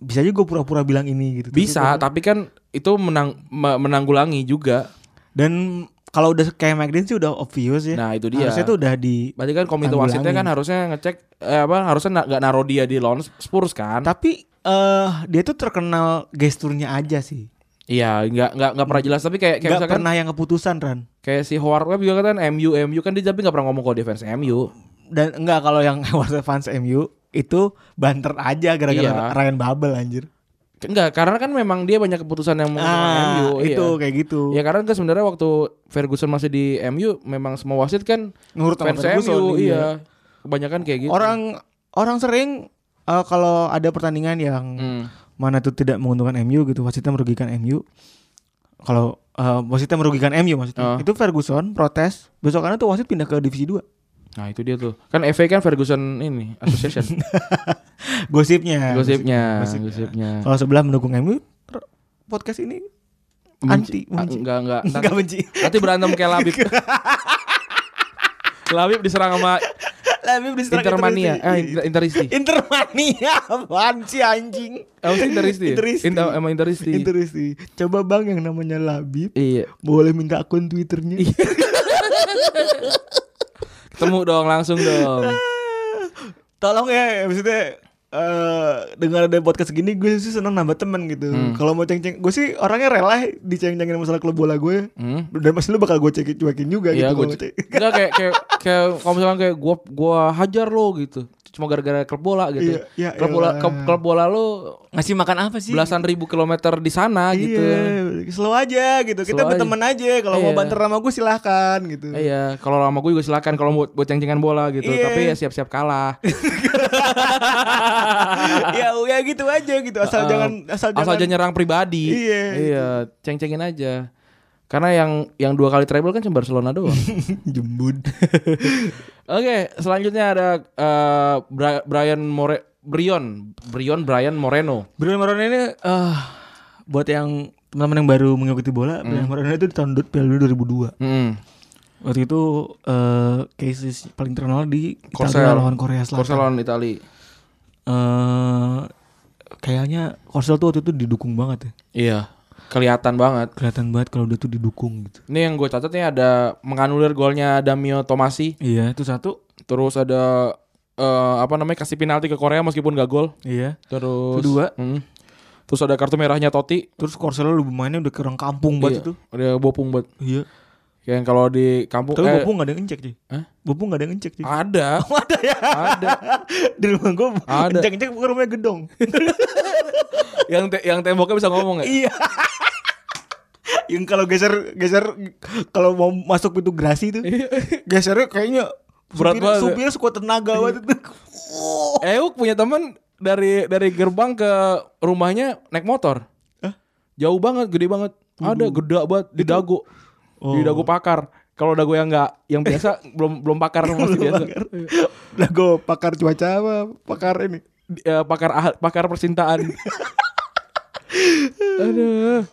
Speaker 4: bisa aja gue pura-pura bilang ini gitu. Tapi
Speaker 3: bisa, tapi kan itu menang me- menanggulangi juga.
Speaker 4: Dan kalau udah kayak McDean sih udah obvious ya.
Speaker 3: Nah, itu dia.
Speaker 4: Harusnya tuh udah di.
Speaker 3: Berarti kan komite
Speaker 4: Tanggulangi.
Speaker 3: wasitnya kan harusnya ngecek eh, apa harusnya na- nggak naruh dia di lawan Spurs kan?
Speaker 4: Tapi eh dia tuh terkenal gesturnya aja sih.
Speaker 3: Iya, nggak nggak nggak pernah jelas tapi kayak kayak
Speaker 4: Gak
Speaker 3: misalkan
Speaker 4: pernah yang keputusan Ran.
Speaker 3: kayak si Howard Webb juga kan MU MU kan dia tapi nggak pernah ngomong kalau dia fans MU.
Speaker 4: Dan enggak kalau yang [laughs] Warsaw fans MU itu banter aja gara-gara
Speaker 3: Iya.
Speaker 4: Ryan Babel anjir.
Speaker 3: Enggak, karena kan memang dia banyak keputusan yang mau
Speaker 4: Ah,
Speaker 3: MU.
Speaker 4: itu
Speaker 3: iya.
Speaker 4: kayak gitu.
Speaker 3: Ya karena kan sebenarnya waktu Ferguson masih di MU memang semua wasit kan
Speaker 4: Nurut sama
Speaker 3: fans
Speaker 4: Ferguson, iya.
Speaker 3: MU, iya. Kebanyakan kayak gitu.
Speaker 4: Orang orang sering eh, kalau ada pertandingan yang
Speaker 3: Hmm.
Speaker 4: mana tuh tidak menguntungkan MU gitu, wasitnya merugikan MU. Kalau eh, wasitnya merugikan MU maksudnya.
Speaker 3: Ah.
Speaker 4: Itu Ferguson protes, besokannya tuh wasit pindah ke divisi 2.
Speaker 3: Nah, itu dia tuh. Kan FA kan Ferguson ini
Speaker 4: [laughs]
Speaker 3: association.
Speaker 4: [laughs] Gosipnya.
Speaker 3: gosipnya,
Speaker 4: gosipnya.
Speaker 3: gosipnya.
Speaker 4: Kalau sebelah mendukung MU, r- podcast ini anti,
Speaker 3: Ah,
Speaker 4: benci.
Speaker 3: Enggak,
Speaker 4: [laughs]
Speaker 3: enggak. Ntar-
Speaker 4: Enggak benci.
Speaker 3: Nanti berantem kayak
Speaker 4: [laughs]
Speaker 3: Labib. Labib diserang sama
Speaker 4: Labib diserang
Speaker 3: Intermania,
Speaker 4: Interisti.
Speaker 3: eh Inter- Interisti.
Speaker 4: [laughs] Intermania apaan sih anjing?
Speaker 3: Apa sih Interisti? ya?
Speaker 4: Interisti.
Speaker 3: Inter sama Interisti.
Speaker 4: Interisti. Coba bang yang namanya Labib
Speaker 3: Iya.
Speaker 4: boleh minta akun Twitternya.
Speaker 3: Ketemu dong langsung dong.
Speaker 4: Tolong ya maksudnya eh dengar ada podcast gini gue sih seneng nambah temen gitu.
Speaker 3: Hmm.
Speaker 4: Kalau mau ceng-ceng, gue sih orangnya rela diceng-cengin masalah klub bola gue.
Speaker 3: Hmm.
Speaker 4: Dan pasti lu bakal gue cekin cuekin juga
Speaker 3: Iya,
Speaker 4: [laughs] gitu.
Speaker 3: gue
Speaker 4: kalau mau ceng-
Speaker 3: c- enggak kayak kayak kayak kalau misalkan kayak gua gua hajar lo gitu. Cuma gara-gara klub bola gitu.
Speaker 4: Iya, ya
Speaker 3: klub bola
Speaker 4: elah.
Speaker 3: klub, klub bola lo
Speaker 4: Ngasih makan apa sih?
Speaker 3: belasan ribu kilometer di sana gitu.
Speaker 4: [laughs] Iya, slow aja gitu. Kita
Speaker 3: Slow aja.
Speaker 4: berteman aja. Kalau mau
Speaker 3: Iya.
Speaker 4: banter sama gue silahkan gitu.
Speaker 3: Iya, kalau lama gue juga silakan kalau buat buat ceng-cengan bola gitu,
Speaker 4: Iya.
Speaker 3: tapi ya siap-siap kalah.
Speaker 4: [laughs] ya, ya gitu aja gitu. [laughs] Asal
Speaker 3: Eh,
Speaker 4: jangan asal,
Speaker 3: asal
Speaker 4: jangan
Speaker 3: jangan nyerang pribadi.
Speaker 4: Iya,
Speaker 3: Iya, ceng-cengin aja. Karena yang yang dua kali treble kan cuma Barcelona doang.
Speaker 4: [laughs] jembut.
Speaker 3: Oke, selanjutnya ada eh, Bra- Brian More Brion, Brion Brian Moreno.
Speaker 4: [laughs] Bruno Moreno ini eh, buat yang teman-teman yang baru mengikuti bola, Bruno Moreno itu di tahun du- Piala Dunia 2002.
Speaker 3: Hmm.
Speaker 4: Waktu itu eh cases paling terkenal di
Speaker 3: Korsel.
Speaker 4: Italia lawan Korea
Speaker 3: Korsel
Speaker 4: Selatan.
Speaker 3: lawan Itali.
Speaker 4: Eh, kayaknya Korsel tuh waktu itu didukung banget ya.
Speaker 3: Iya, kelihatan banget.
Speaker 4: Kelihatan banget kalau dia tuh didukung gitu.
Speaker 3: Ini yang gue catat nih ada menganulir golnya Damio Tomasi,
Speaker 4: Iya, itu satu.
Speaker 3: terus ada eh, apa namanya kasih penalti ke Korea meskipun gak gol.
Speaker 4: Iya.
Speaker 3: Terus
Speaker 4: Kedua.
Speaker 3: Mm. terus ada kartu merahnya Totti.
Speaker 4: Terus Korsel lu mainnya udah ke orang kampung banget
Speaker 3: Iya,
Speaker 4: itu.
Speaker 3: Dia bopung buat
Speaker 4: Iya.
Speaker 3: Kayak yang kalau di kampung
Speaker 4: Tapi
Speaker 3: eh,
Speaker 4: Bopung gak ada yang ngecek cuy
Speaker 3: Hah?
Speaker 4: Bopung gak ada yang ngecek cuy
Speaker 3: ada.
Speaker 4: [laughs] ada ya
Speaker 3: ada.
Speaker 4: Di rumah gue
Speaker 3: Ada.
Speaker 4: Ngecek-ngecek ke rumahnya gedong [laughs]
Speaker 3: yang te- yang temboknya bisa ngomong ya?
Speaker 4: Iya Yang kalau geser Geser Kalau mau masuk pintu gerasi itu Gesernya kayaknya
Speaker 3: Iya. Berat
Speaker 4: supir-
Speaker 3: banget.
Speaker 4: Supir sekuat tenaga banget itu
Speaker 3: Euk punya teman dari dari gerbang ke rumahnya naik motor.
Speaker 4: Hah?
Speaker 3: Jauh banget, gede banget. Ada gede banget di dago. Di dago pakar. Kalau dago yang enggak yang [laughs] biasa belum belum pakar masih biasa.
Speaker 4: Lah gue pakar cuaca apa Pakar ini
Speaker 3: [laughs] Di- eh, pakar ah- pakar percintaan. Aduh.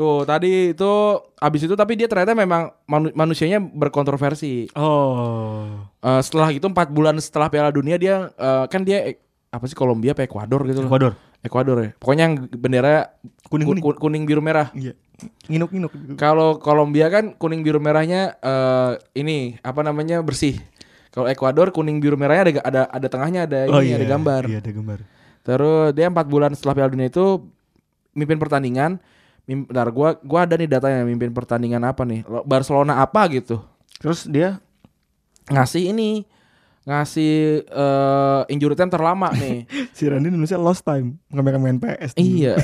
Speaker 3: Tuh tadi itu abis itu tapi dia ternyata memang manu- manusianya berkontroversi.
Speaker 4: Oh.
Speaker 3: Eh, setelah itu empat bulan setelah Piala Dunia dia eh, kan dia eh, apa sih Kolombia apa Ekuador gitu loh.
Speaker 4: Ecuador.
Speaker 3: Ekuador ya. Pokoknya yang bendera
Speaker 4: Kuning-kuning.
Speaker 3: ku- ku- kuning Iya, biru merah.
Speaker 4: Iya. Nginuk-nginuk.
Speaker 3: Kalau Kolombia kan kuning biru merahnya eh ini apa namanya bersih. Kalau Ekuador kuning biru merahnya ada ada ada tengahnya ada ini ada gambar.
Speaker 4: Iya, ada gambar.
Speaker 3: Terus dia empat bulan setelah Piala Dunia itu mimpin pertandingan. Mim, bentar, gua gua ada nih datanya mimpin pertandingan apa nih? Lo- Barcelona apa gitu.
Speaker 4: Terus dia
Speaker 3: Ngasih ini ngasih eh injury time terlama
Speaker 4: [laughs]
Speaker 3: nih.
Speaker 4: si Randy Indonesia lost time kebanyakan main PS.
Speaker 3: iya.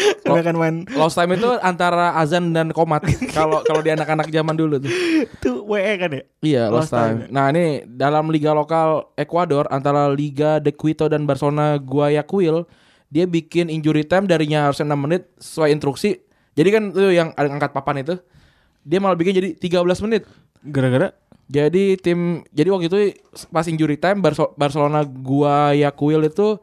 Speaker 3: Oh.
Speaker 4: Kebanyakan main
Speaker 3: Lost time itu antara azan dan komat. Kalau kalau di anak-anak zaman dulu tuh.
Speaker 4: itu WE kan ya?
Speaker 3: Iya,
Speaker 4: Lost
Speaker 3: lost time.
Speaker 4: time.
Speaker 3: Nah, ini dalam liga lokal Ekuador antara Liga de Quito dan Barcelona Guayaquil, dia bikin injury time darinya harusnya 6 menit sesuai instruksi. Jadi kan tuh yang angkat papan itu, dia malah bikin jadi 13 menit.
Speaker 4: Gara-gara
Speaker 3: Jadi tim jadi waktu itu pas injury time Barso- Barcelona Guayaquil itu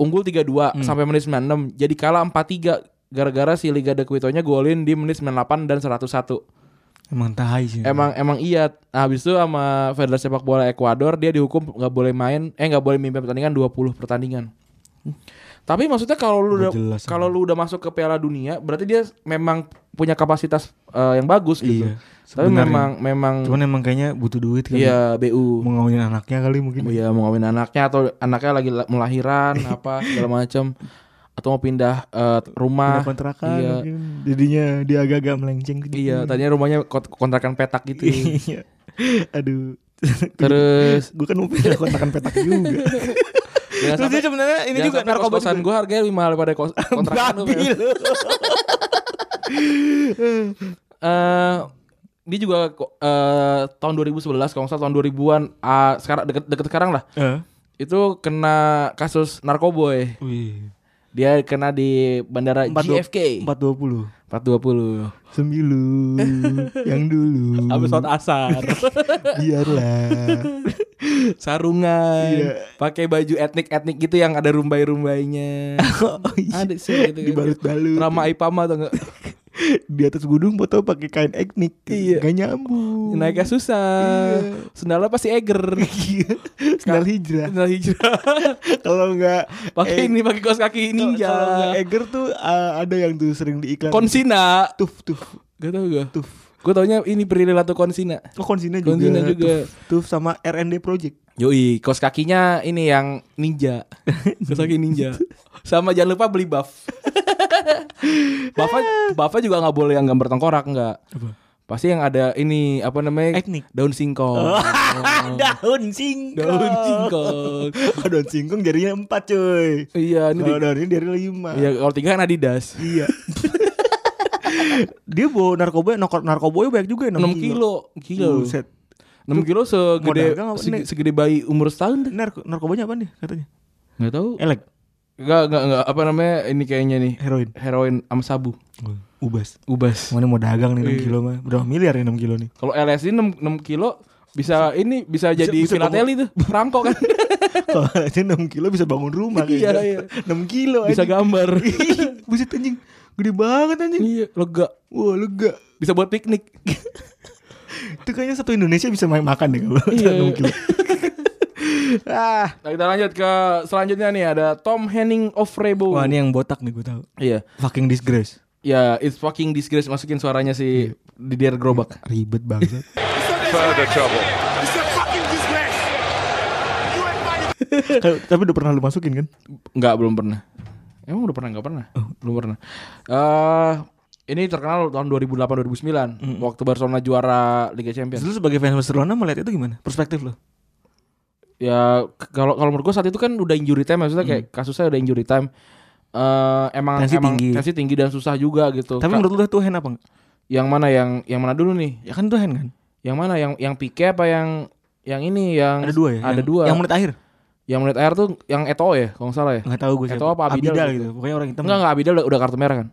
Speaker 3: unggul 3-2 sampai menit 96. Jadi kalah 4-3 gara-gara si Liga de Quito-nya golin di menit 98 dan 101.
Speaker 4: emang tahai sih.
Speaker 3: Emang emang iya. Nah, habis itu sama Federasi Sepak Bola Ekuador dia dihukum nggak boleh main, eh nggak boleh mimpin pertandingan 20 pertandingan. Tapi maksudnya kalau lu udah
Speaker 4: Jelas.
Speaker 3: kalau lu udah masuk ke Piala Dunia, berarti dia memang punya kapasitas eh, yang bagus gitu.
Speaker 4: Iya,
Speaker 3: Tapi
Speaker 4: sebenarnya.
Speaker 3: memang memang
Speaker 4: Cuman emang kayaknya butuh duit kan.
Speaker 3: iya BU.
Speaker 4: Mau ngawinin anaknya kali mungkin.
Speaker 3: Iya mau ngawin anaknya atau anaknya lagi la-
Speaker 4: [laughs]
Speaker 3: melahiran apa segala macam atau mau pindah eh, rumah.
Speaker 4: Pindah kontrakan
Speaker 3: Iya.
Speaker 4: mungkin. Jadinya dia agak-agak melenceng ke
Speaker 3: Iya, tadinya rumahnya kot- kontrakan petak gitu.
Speaker 4: [laughs] Iya. Aduh.
Speaker 3: Terus
Speaker 4: gue kan mau pindah kontrakan petak
Speaker 3: [laughs]
Speaker 4: juga.
Speaker 3: Jangan
Speaker 4: Terus dia
Speaker 3: Iya, sampai-
Speaker 4: sebenarnya ini
Speaker 3: jangan
Speaker 4: juga
Speaker 3: sampai
Speaker 4: narkoba
Speaker 3: kos-kosan
Speaker 4: juga.
Speaker 3: gue harganya lebih mahal daripada
Speaker 4: [laughs]
Speaker 3: kos kontrakan lu. ya.
Speaker 4: Babi lu.
Speaker 3: [laughs] Eh, dia juga ko- eh, tahun 2011 kalau nggak salah tahun 2000-an ah, sekarang deket, deket sekarang lah
Speaker 4: Eh.
Speaker 3: itu kena kasus narkoboy
Speaker 4: Wih.
Speaker 3: dia kena di bandara JFK
Speaker 4: 420.
Speaker 3: 420
Speaker 4: Semilu yang dulu.
Speaker 3: habis sholat
Speaker 4: [laughs]
Speaker 3: asar
Speaker 4: Biarlah.
Speaker 3: sarungan
Speaker 4: Iya.
Speaker 3: pakai baju etnik etnik gitu yang ada rumbai
Speaker 4: [laughs]
Speaker 3: rumbainya
Speaker 4: oh, iya.
Speaker 3: [laughs] ada sih gitu kan.
Speaker 4: Dibalut-balut.
Speaker 3: Rama Ipama atau enggak
Speaker 4: Di atas gunung foto pakai kain etnik.
Speaker 3: Iya.
Speaker 4: Gak nyambung. [laughs]
Speaker 3: naiknya susah
Speaker 4: Iya.
Speaker 3: sendalnya pasti eger
Speaker 4: Sendal hijrah.
Speaker 3: sendal hijrah
Speaker 4: Kalau nggak eh,
Speaker 3: pakai ini pakai kaos kaki
Speaker 4: kalau-
Speaker 3: ninja
Speaker 4: Kalau nggak Eger tuh eh, ada yang tuh sering di iklan.
Speaker 3: konsina
Speaker 4: tuf tuf
Speaker 3: gak tau gue
Speaker 4: tuf.
Speaker 3: gue taunya ini Prilly Latu konsina
Speaker 4: Oh Konsina juga.
Speaker 3: Konsina juga.
Speaker 4: Tuf, tuf sama RND Project.
Speaker 3: yoi kaos kakinya ini yang
Speaker 4: [laughs]
Speaker 3: ninja kaos kaki ninja sama jangan lupa beli buff buffnya
Speaker 4: Iya.
Speaker 3: buffnya juga nggak boleh yang gambar tengkorak nggak pasti yang ada ini apa namanya
Speaker 4: Etnik. Oh.
Speaker 3: daun singkong
Speaker 4: Ah, Daun singkong.
Speaker 3: [laughs] Oh. daun
Speaker 4: [laughs]
Speaker 3: singkong
Speaker 4: Oh, daun singkong jarinya empat cuy.
Speaker 3: iya ini
Speaker 4: Kalau
Speaker 3: di-
Speaker 4: daun ini dari lima.
Speaker 3: iya kalau tiga kan Adidas
Speaker 4: Iya. Dia bawa narkoba, narko, narkoboy banyak juga 6,
Speaker 3: 6 kilo kilo
Speaker 4: Buset.
Speaker 3: 6 kilo segede
Speaker 4: dagang apa nih?
Speaker 3: sege- segede bayi umur setahun deh.
Speaker 4: Narko, narkobanya apa nih katanya?
Speaker 3: Enggak tahu.
Speaker 4: Elek,
Speaker 3: Enggak enggak enggak apa namanya ini kayaknya nih
Speaker 4: heroin,
Speaker 3: heroin sama sabu,
Speaker 4: ubas.
Speaker 3: ubas.
Speaker 4: Mana mau dagang nih 6
Speaker 3: Iya.
Speaker 4: kilo mah. Berapa miliar nih 6 kilo
Speaker 3: [laughs]
Speaker 4: nih?
Speaker 3: Kalau LSD 6, 6 kilo bisa ini bisa, jadi
Speaker 4: bisa
Speaker 3: filateli tuh, perangkok
Speaker 4: [laughs]
Speaker 3: kan.
Speaker 4: Kalau aja 6 kilo bisa bangun rumah
Speaker 3: Iya,
Speaker 4: kayaknya.
Speaker 3: iya.
Speaker 4: 6 kilo
Speaker 3: bisa
Speaker 4: anjing. [laughs]
Speaker 3: gambar.
Speaker 4: Buset anjing. Gede banget anjing.
Speaker 3: iya, lega.
Speaker 4: Wah, lega.
Speaker 3: Bisa buat
Speaker 4: [laughs]
Speaker 3: piknik.
Speaker 4: Itu kayaknya satu Indonesia bisa main makan deh kalau [laughs]
Speaker 3: Iya.
Speaker 4: 6 kilo. ah.
Speaker 3: Nah, kita lanjut ke selanjutnya nih ada Tom Henning of Rebo.
Speaker 4: Wah, ini yang botak nih gue tahu.
Speaker 3: Iya.
Speaker 4: Fucking disgrace.
Speaker 3: Ya, it's fucking disgrace masukin suaranya si Didier Gerobak.
Speaker 4: Ribet banget.
Speaker 7: further trouble.
Speaker 4: Kayak- Tapi udah pernah lu masukin kan?
Speaker 3: Enggak, belum pernah. Emang udah pernah enggak pernah?
Speaker 4: Oh.
Speaker 3: Belum pernah. Eh ini terkenal tahun 2008 2009 waktu Barcelona juara Liga Champions.
Speaker 4: Terus Lu sebagai fans Barcelona melihat itu gimana? Perspektif lo?
Speaker 3: ya k- kalau kalau menurut gua saat itu kan udah injury time maksudnya kayak kasusnya udah injury time Eh,
Speaker 4: Mm.
Speaker 3: emang
Speaker 4: Tensi
Speaker 3: emang
Speaker 4: tinggi.
Speaker 3: tensi tinggi dan susah juga gitu
Speaker 4: Tapi
Speaker 3: Ka-
Speaker 4: menurut lu tuh hand apa enggak?
Speaker 3: yang mana yang yang mana dulu nih
Speaker 4: Ya kan tuh hand kan?
Speaker 3: yang mana yang yang Pique apa yang yang ini yang
Speaker 4: Ada dua ya?
Speaker 3: ada
Speaker 4: yang,
Speaker 3: dua
Speaker 4: Yang menit akhir?
Speaker 3: yang menit air tuh yang Eto'o ya kalau nggak salah ya
Speaker 4: Nggak tahu gue siapa.
Speaker 3: Eto'o apa Abidal, gitu.
Speaker 4: gitu. Pokoknya orang hitam.
Speaker 3: enggak enggak Abidal udah, udah kartu merah kan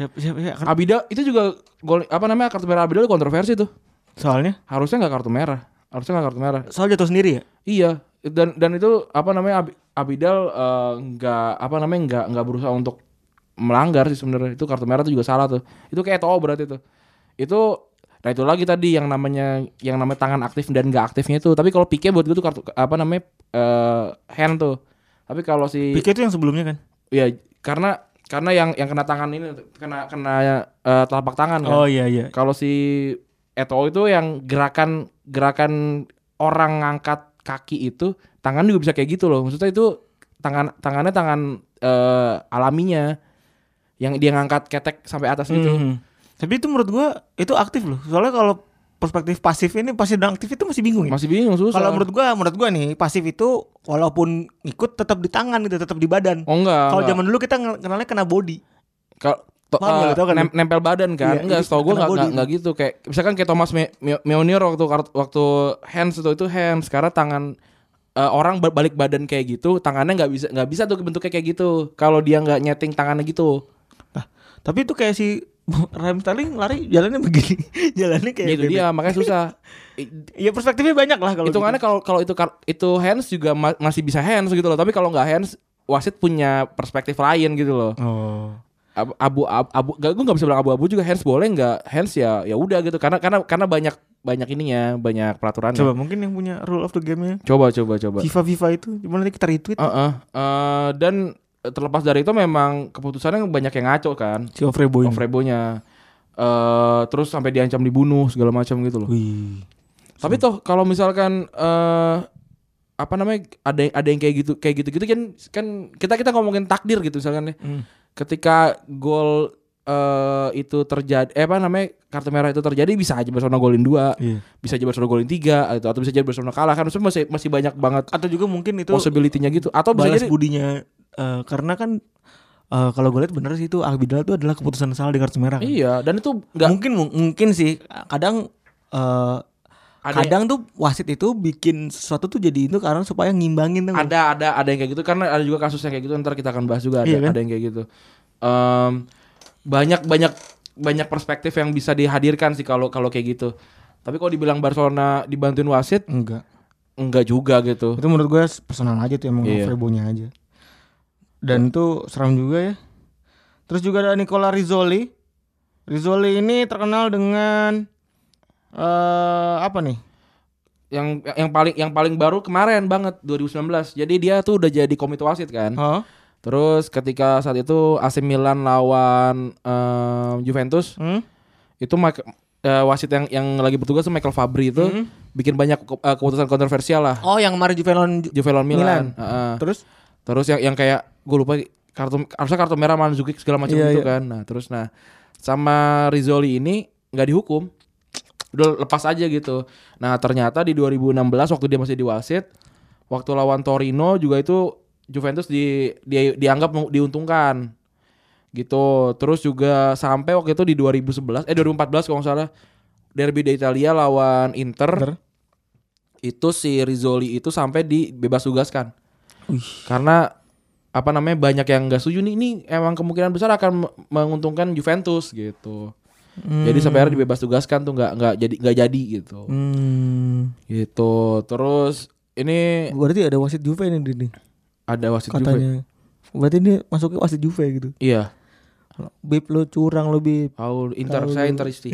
Speaker 4: Siapa, siapa, siapa? Kan-
Speaker 3: Abidal itu juga gol apa namanya kartu merah Abidal kontroversi tuh
Speaker 4: Soalnya?
Speaker 3: harusnya nggak kartu merah harusnya nggak kartu merah
Speaker 4: Soal jatuh sendiri ya?
Speaker 3: Iya, dan dan itu apa namanya Abi- Abidal eh, nggak apa namanya nggak nggak berusaha untuk melanggar sih sebenarnya. Itu kartu merah itu juga salah tuh. Itu kayak toh berarti itu. Itu nah itu lagi tadi yang namanya yang namanya tangan aktif dan nggak aktifnya itu. Tapi kalau pike buat gue tuh kartu apa namanya eh, hand tuh. Tapi kalau si
Speaker 4: Pique itu yang sebelumnya kan?
Speaker 3: ya karena karena yang yang kena tangan ini kena kena eh, telapak tangan kan.
Speaker 4: Oh iya iya.
Speaker 3: Kalau si Eto'o itu yang gerakan gerakan orang ngangkat kaki itu tangan juga bisa kayak gitu loh. Maksudnya itu tangan tangannya tangan eh, alaminya yang dia ngangkat ketek sampai atas gitu.
Speaker 4: Mhm. Tapi itu menurut gua itu aktif loh. Soalnya kalau perspektif pasif ini pasif dan aktif itu masih bingung ya.
Speaker 3: Masih bingung susah.
Speaker 4: Kalau menurut gua menurut gua nih pasif itu walaupun ikut tetap di tangan gitu, tetap di badan.
Speaker 3: Oh enggak.
Speaker 4: Kalau
Speaker 3: enggak.
Speaker 4: zaman dulu kita nge- kenalnya kena body.
Speaker 3: Kalau to-
Speaker 4: Paham nggak
Speaker 3: eh,
Speaker 4: lu, tau kan
Speaker 3: nem- nempel badan kan?
Speaker 4: Iya,
Speaker 3: enggak,
Speaker 4: jadi
Speaker 3: setahu gue
Speaker 4: kena body
Speaker 3: enggak, enggak,
Speaker 4: itu.
Speaker 3: enggak gitu kayak misalkan kayak Thomas Me- Me- Meunier waktu kar- waktu hands itu itu hands karena tangan eh, orang ba- balik badan kayak gitu, tangannya nggak bisa nggak bisa tuh bentuknya kayak gitu. Kalau dia nggak nyeting tangannya gitu.
Speaker 4: Nah, tapi itu kayak si [laughs] Raheem Sterling lari jalannya begini. [laughs] jalannya kayak
Speaker 3: Ya, itu
Speaker 4: bebek.
Speaker 3: dia makanya susah.
Speaker 4: [laughs]
Speaker 3: I-
Speaker 4: Ya perspektifnya banyak lah kalau gitu.
Speaker 3: Hitungannya kalau kalau itu kar- itu hands juga ma- masih bisa hands gitu loh, tapi kalau nggak hands wasit punya perspektif lain gitu loh.
Speaker 4: gitu. Oh.
Speaker 3: Ab- abu abu, abu gak, gue nggak bisa bilang abu-abu juga hands boleh nggak hands ya ya udah gitu karena karena karena banyak banyak ininya banyak peraturannya
Speaker 4: Coba mungkin yang punya rule of the game-nya
Speaker 3: coba coba coba Ah.
Speaker 4: FIFA FIFA itu cuma nanti kita retweet
Speaker 3: Heeh. Eh, dan terlepas dari itu memang keputusannya banyak yang ngaco kan
Speaker 4: si Ovreboy.
Speaker 3: Ofrebonya eh terus sampai diancam dibunuh segala macam gitu loh
Speaker 4: Wih.
Speaker 3: tapi toh kalau misalkan eh apa namanya ada yang ada yang kayak gitu kayak gitu gitu kan kan kita kita ngomongin takdir gitu misalkan ya ketika gol eh itu terjadi eh apa namanya kartu merah itu terjadi bisa aja Barcelona golin dua
Speaker 4: Iya.
Speaker 3: bisa aja Barcelona golin tiga atau, atau bisa aja Barcelona kalah kan maksudnya masih masih banyak banget
Speaker 4: Atau juga mungkin itu
Speaker 3: possibility-nya gitu atau bisa
Speaker 4: balas
Speaker 3: jadi
Speaker 4: budinya eh, karena kan eh, kalau gue lihat bener sih itu Abidal itu adalah keputusan salah di kartu merah. kan?
Speaker 3: iya dan itu nggak
Speaker 4: Mungkin mu- mungkin sih kadang eh,
Speaker 3: Ada-
Speaker 4: kadang tuh wasit itu bikin sesuatu tuh jadi itu karena supaya ngimbangin tuh.
Speaker 3: ada ada ada yang kayak gitu karena ada juga kasus yang kayak gitu ntar kita akan bahas juga ada
Speaker 4: Iya kan?
Speaker 3: ada yang kayak gitu Em, banyak banyak banyak perspektif yang bisa dihadirkan sih kalau kalau kayak gitu tapi kalau dibilang Barcelona dibantuin wasit
Speaker 4: Enggak.
Speaker 3: enggak juga gitu
Speaker 4: Itu menurut gue personal aja tuh emang
Speaker 3: Iya.
Speaker 4: Frebonya aja. Dan itu seram juga ya. Terus juga ada Nicola Rizzoli. Rizzoli ini terkenal dengan eh apa nih?
Speaker 3: yang yang paling yang paling baru kemarin banget 2019 jadi dia tuh udah jadi komite wasit kan
Speaker 4: Hah?
Speaker 3: terus ketika saat itu AC Milan lawan em, Juventus
Speaker 4: Hmm?
Speaker 3: itu Mike- eh, wasit yang yang lagi bertugas tuh Michael Fabri itu bikin banyak ke- eh, keputusan kontroversial lah
Speaker 4: Oh, yang kemarin Juve lawan Ju-
Speaker 3: Juve lawan Milan.
Speaker 4: Milan.
Speaker 3: Heeh.
Speaker 4: Terus
Speaker 3: Terus yang yang kayak gue lupa kartu harusnya kartu merah Mandzukic segala macam
Speaker 4: Iya,
Speaker 3: gitu
Speaker 4: iya.
Speaker 3: kan. Nah, terus nah sama Rizzoli ini nggak dihukum. Udah lepas aja gitu. Nah, ternyata di 2016 waktu dia masih di wasit, waktu lawan Torino juga itu Juventus di, dia dianggap mau- diuntungkan. Gitu. Terus juga sampai waktu itu di 2011 eh 2014 kalau nggak salah Derby d'Italia lawan
Speaker 4: Inter.
Speaker 3: Inter. Itu si Rizzoli itu sampai dibebas tugaskan karena apa namanya banyak yang nggak setuju nih ini emang kemungkinan besar akan me- menguntungkan Juventus gitu jadi sampai akhirnya dibebas tugaskan tuh nggak nggak jadi nggak jadi gitu
Speaker 4: Hmm.
Speaker 3: gitu terus ini
Speaker 4: Eh, Berarti ada wasit Juve nih ini
Speaker 3: ada wasit Juve
Speaker 4: katanya. Berarti ini masuknya wasit Juve gitu.
Speaker 3: iya
Speaker 4: Bib lo curang lo Bib. [laughs]
Speaker 3: Paul Inter saya Interisti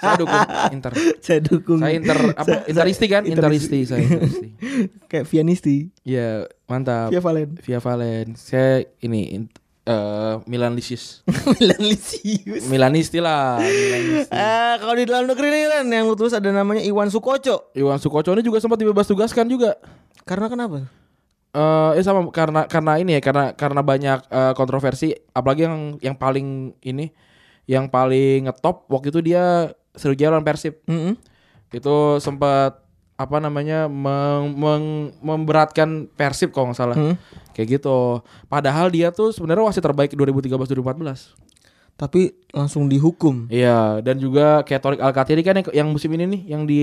Speaker 3: saya dukung Inter
Speaker 4: Saya dukung.
Speaker 3: saya Inter apa
Speaker 4: Saya-
Speaker 3: Interisti kan
Speaker 4: Interisti.
Speaker 3: Interisti saya Interisti
Speaker 4: [laughs] kayak Vianisti,
Speaker 3: iya mantap
Speaker 4: Via Valen. [laughs]
Speaker 3: Via Valen saya ini in- eh, Milanisius
Speaker 4: Milan Lisius.
Speaker 3: Milanisti lah Milanisti.
Speaker 4: Eh, kalau di dalam negeri nih Ren, yang lu tulis ada namanya Iwan Sukoco.
Speaker 3: Iwan Sukoco ini juga sempat dibebas tugaskan juga.
Speaker 4: Karena kenapa?
Speaker 3: Eh ya sama karena karena ini ya karena karena banyak eh, kontroversi apalagi yang yang paling ini yang paling ngetop waktu itu dia seru jalan Persib. Itu sempat apa namanya meng- meng- memberatkan Persib kalau nggak salah. Kayak gitu. Padahal dia tuh sebenarnya wasit terbaik 2013 2014.
Speaker 4: Tapi langsung dihukum.
Speaker 3: Iya, dan juga kayak Torik Alkatiri kan yang, yang musim ini nih yang di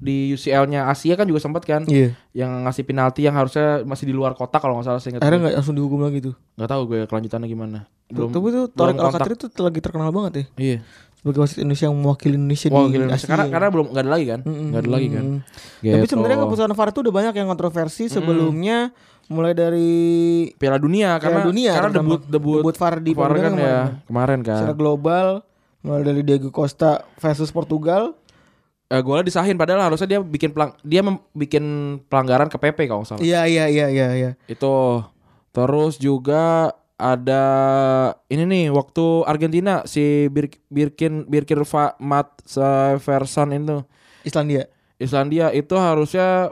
Speaker 3: di UCL-nya Asia kan juga sempat kan.
Speaker 4: Iya.
Speaker 3: yang ngasih penalti yang harusnya masih di luar kotak kalau nggak salah seingat
Speaker 4: Akhirnya
Speaker 3: gue.
Speaker 4: nggak langsung dihukum lagi tuh.
Speaker 3: nggak tahu gue kelanjutannya gimana belum
Speaker 4: Tapi tuh
Speaker 3: belum
Speaker 4: Torek
Speaker 3: kontak.
Speaker 4: Alcatraz itu lagi terkenal banget ya
Speaker 3: iya
Speaker 4: sebagai wasit Indonesia yang mewakili Indonesia
Speaker 3: Wah,
Speaker 4: di
Speaker 3: gila,
Speaker 4: Asia.
Speaker 3: karena karena belum nggak ada lagi kan nggak ada lagi kan
Speaker 4: Tapi
Speaker 3: Gitu.
Speaker 4: sebenarnya keputusan VAR itu udah banyak yang kontroversi sebelumnya mulai dari
Speaker 3: Piala Dunia karena
Speaker 4: Dunia
Speaker 3: karena
Speaker 4: terutama.
Speaker 3: debut debut,
Speaker 4: Debut VAR di
Speaker 3: VAR
Speaker 4: Piala
Speaker 3: kan
Speaker 4: Dunia
Speaker 3: ya kemarin kan.
Speaker 4: secara global mulai dari Diego Costa versus Portugal
Speaker 3: Eh, golnya disahin padahal harusnya dia bikin pelang dia mem- bikin pelanggaran ke PP kalau nggak salah.
Speaker 4: iya iya iya iya iya
Speaker 3: Itu terus juga ada ini nih waktu Argentina si Bir, Birkin Birkin Fa- Mat Severson itu
Speaker 4: Islandia
Speaker 3: Islandia itu harusnya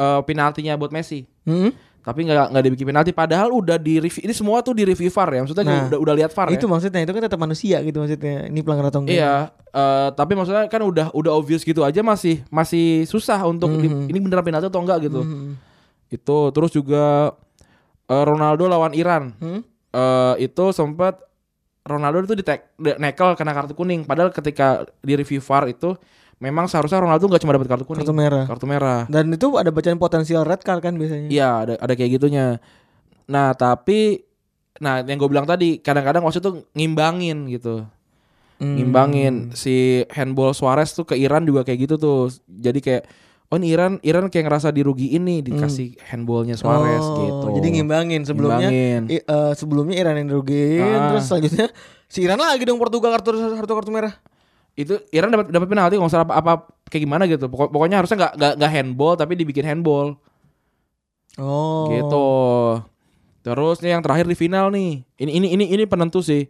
Speaker 3: eh, penaltinya buat Messi.
Speaker 4: Hmm?
Speaker 3: Tapi nggak nggak dibikin penalti padahal udah di review ini semua tuh di review VAR ya. Maksudnya
Speaker 4: Nah,
Speaker 3: udah udah lihat VAR ya.
Speaker 4: itu maksudnya itu kan tetap manusia gitu maksudnya ini pelanggaran atau enggak
Speaker 3: Iya, eh, tapi maksudnya kan udah udah obvious gitu aja masih masih susah untuk di-
Speaker 4: Mhm.
Speaker 3: ini beneran penalti atau enggak gitu.
Speaker 4: Hmm.
Speaker 3: Itu terus juga eh, Ronaldo lawan Iran.
Speaker 4: Hmm?
Speaker 3: Eh, itu sempat Ronaldo itu di nekel kena kartu kuning padahal ketika di review VAR itu memang seharusnya Ronaldo nggak cuma dapat kartu kuning,
Speaker 4: kartu merah
Speaker 3: kartu merah.
Speaker 4: dan itu ada bacaan potensial red card kan biasanya
Speaker 3: Iya, ada ada kayak gitunya. Nah, tapi nah yang gue bilang tadi kadang-kadang wasit tuh ngimbangin gitu.
Speaker 4: Hmm.
Speaker 3: Ngimbangin si handball Suarez tuh ke Iran juga kayak gitu tuh. Jadi kayak oh ini Iran Iran kayak ngerasa dirugiin nih dikasih handballnya Suarez
Speaker 4: Hmm. Oh,
Speaker 3: gitu.
Speaker 4: jadi ngimbangin sebelumnya
Speaker 3: Ngimbangin.
Speaker 4: i- eh, sebelumnya Iran yang dirugiin
Speaker 3: Ah.
Speaker 4: terus selanjutnya si Iran lagi dong Portugal kartu kartu kartu merah
Speaker 3: Itu Iran dapat dapat penalti nggak salah apa, apa kayak gimana gitu. Pokok- pokoknya harusnya nggak nggak nggak handball tapi dibikin handball
Speaker 4: oh
Speaker 3: gitu. Terus nih yang terakhir di final nih. Ini ini ini ini penentu sih.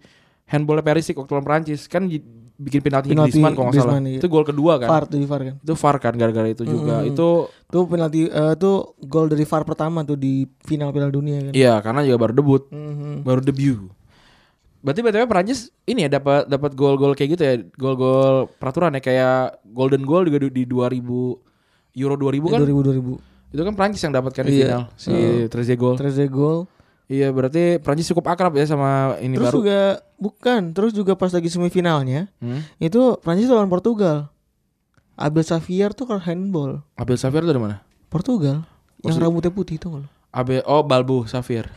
Speaker 3: Handball Perisic waktu lawan Prancis kan j- bikin penalti,
Speaker 4: Penalti
Speaker 3: Griezmann kalau nggak salah.
Speaker 4: Griezmann, iya.
Speaker 3: Itu gol kedua kan.
Speaker 4: VAR tuh di VAR kan
Speaker 3: Itu VAR kan gara-gara itu juga. Itu
Speaker 4: tuh penalti eh, tuh gol dari VAR pertama tuh di final Piala Dunia kan
Speaker 3: iya karena juga baru debut,
Speaker 4: Mhm.
Speaker 3: baru debut. Berarti BTW Prancis ini ya dapat dapat gol-gol kayak gitu ya, gol-gol peraturan ya kayak golden goal juga di, di 2000 Euro 2000 kan.
Speaker 4: 2000
Speaker 3: Itu kan Prancis yang dapatkan di
Speaker 4: Iya.
Speaker 3: final si Trezeguet.
Speaker 4: 2000 Trezeguet
Speaker 3: Iya, berarti Prancis cukup akrab ya sama ini
Speaker 4: Terus
Speaker 3: baru.
Speaker 4: juga bukan, terus juga pas lagi semifinalnya
Speaker 3: Hmm?
Speaker 4: itu Prancis lawan Portugal. Abel Xavier tuh kalau handball
Speaker 3: Abel Safir itu dari mana?
Speaker 4: Portugal yang rambutnya putih itu loh.
Speaker 3: Abel oh Balbu Safir.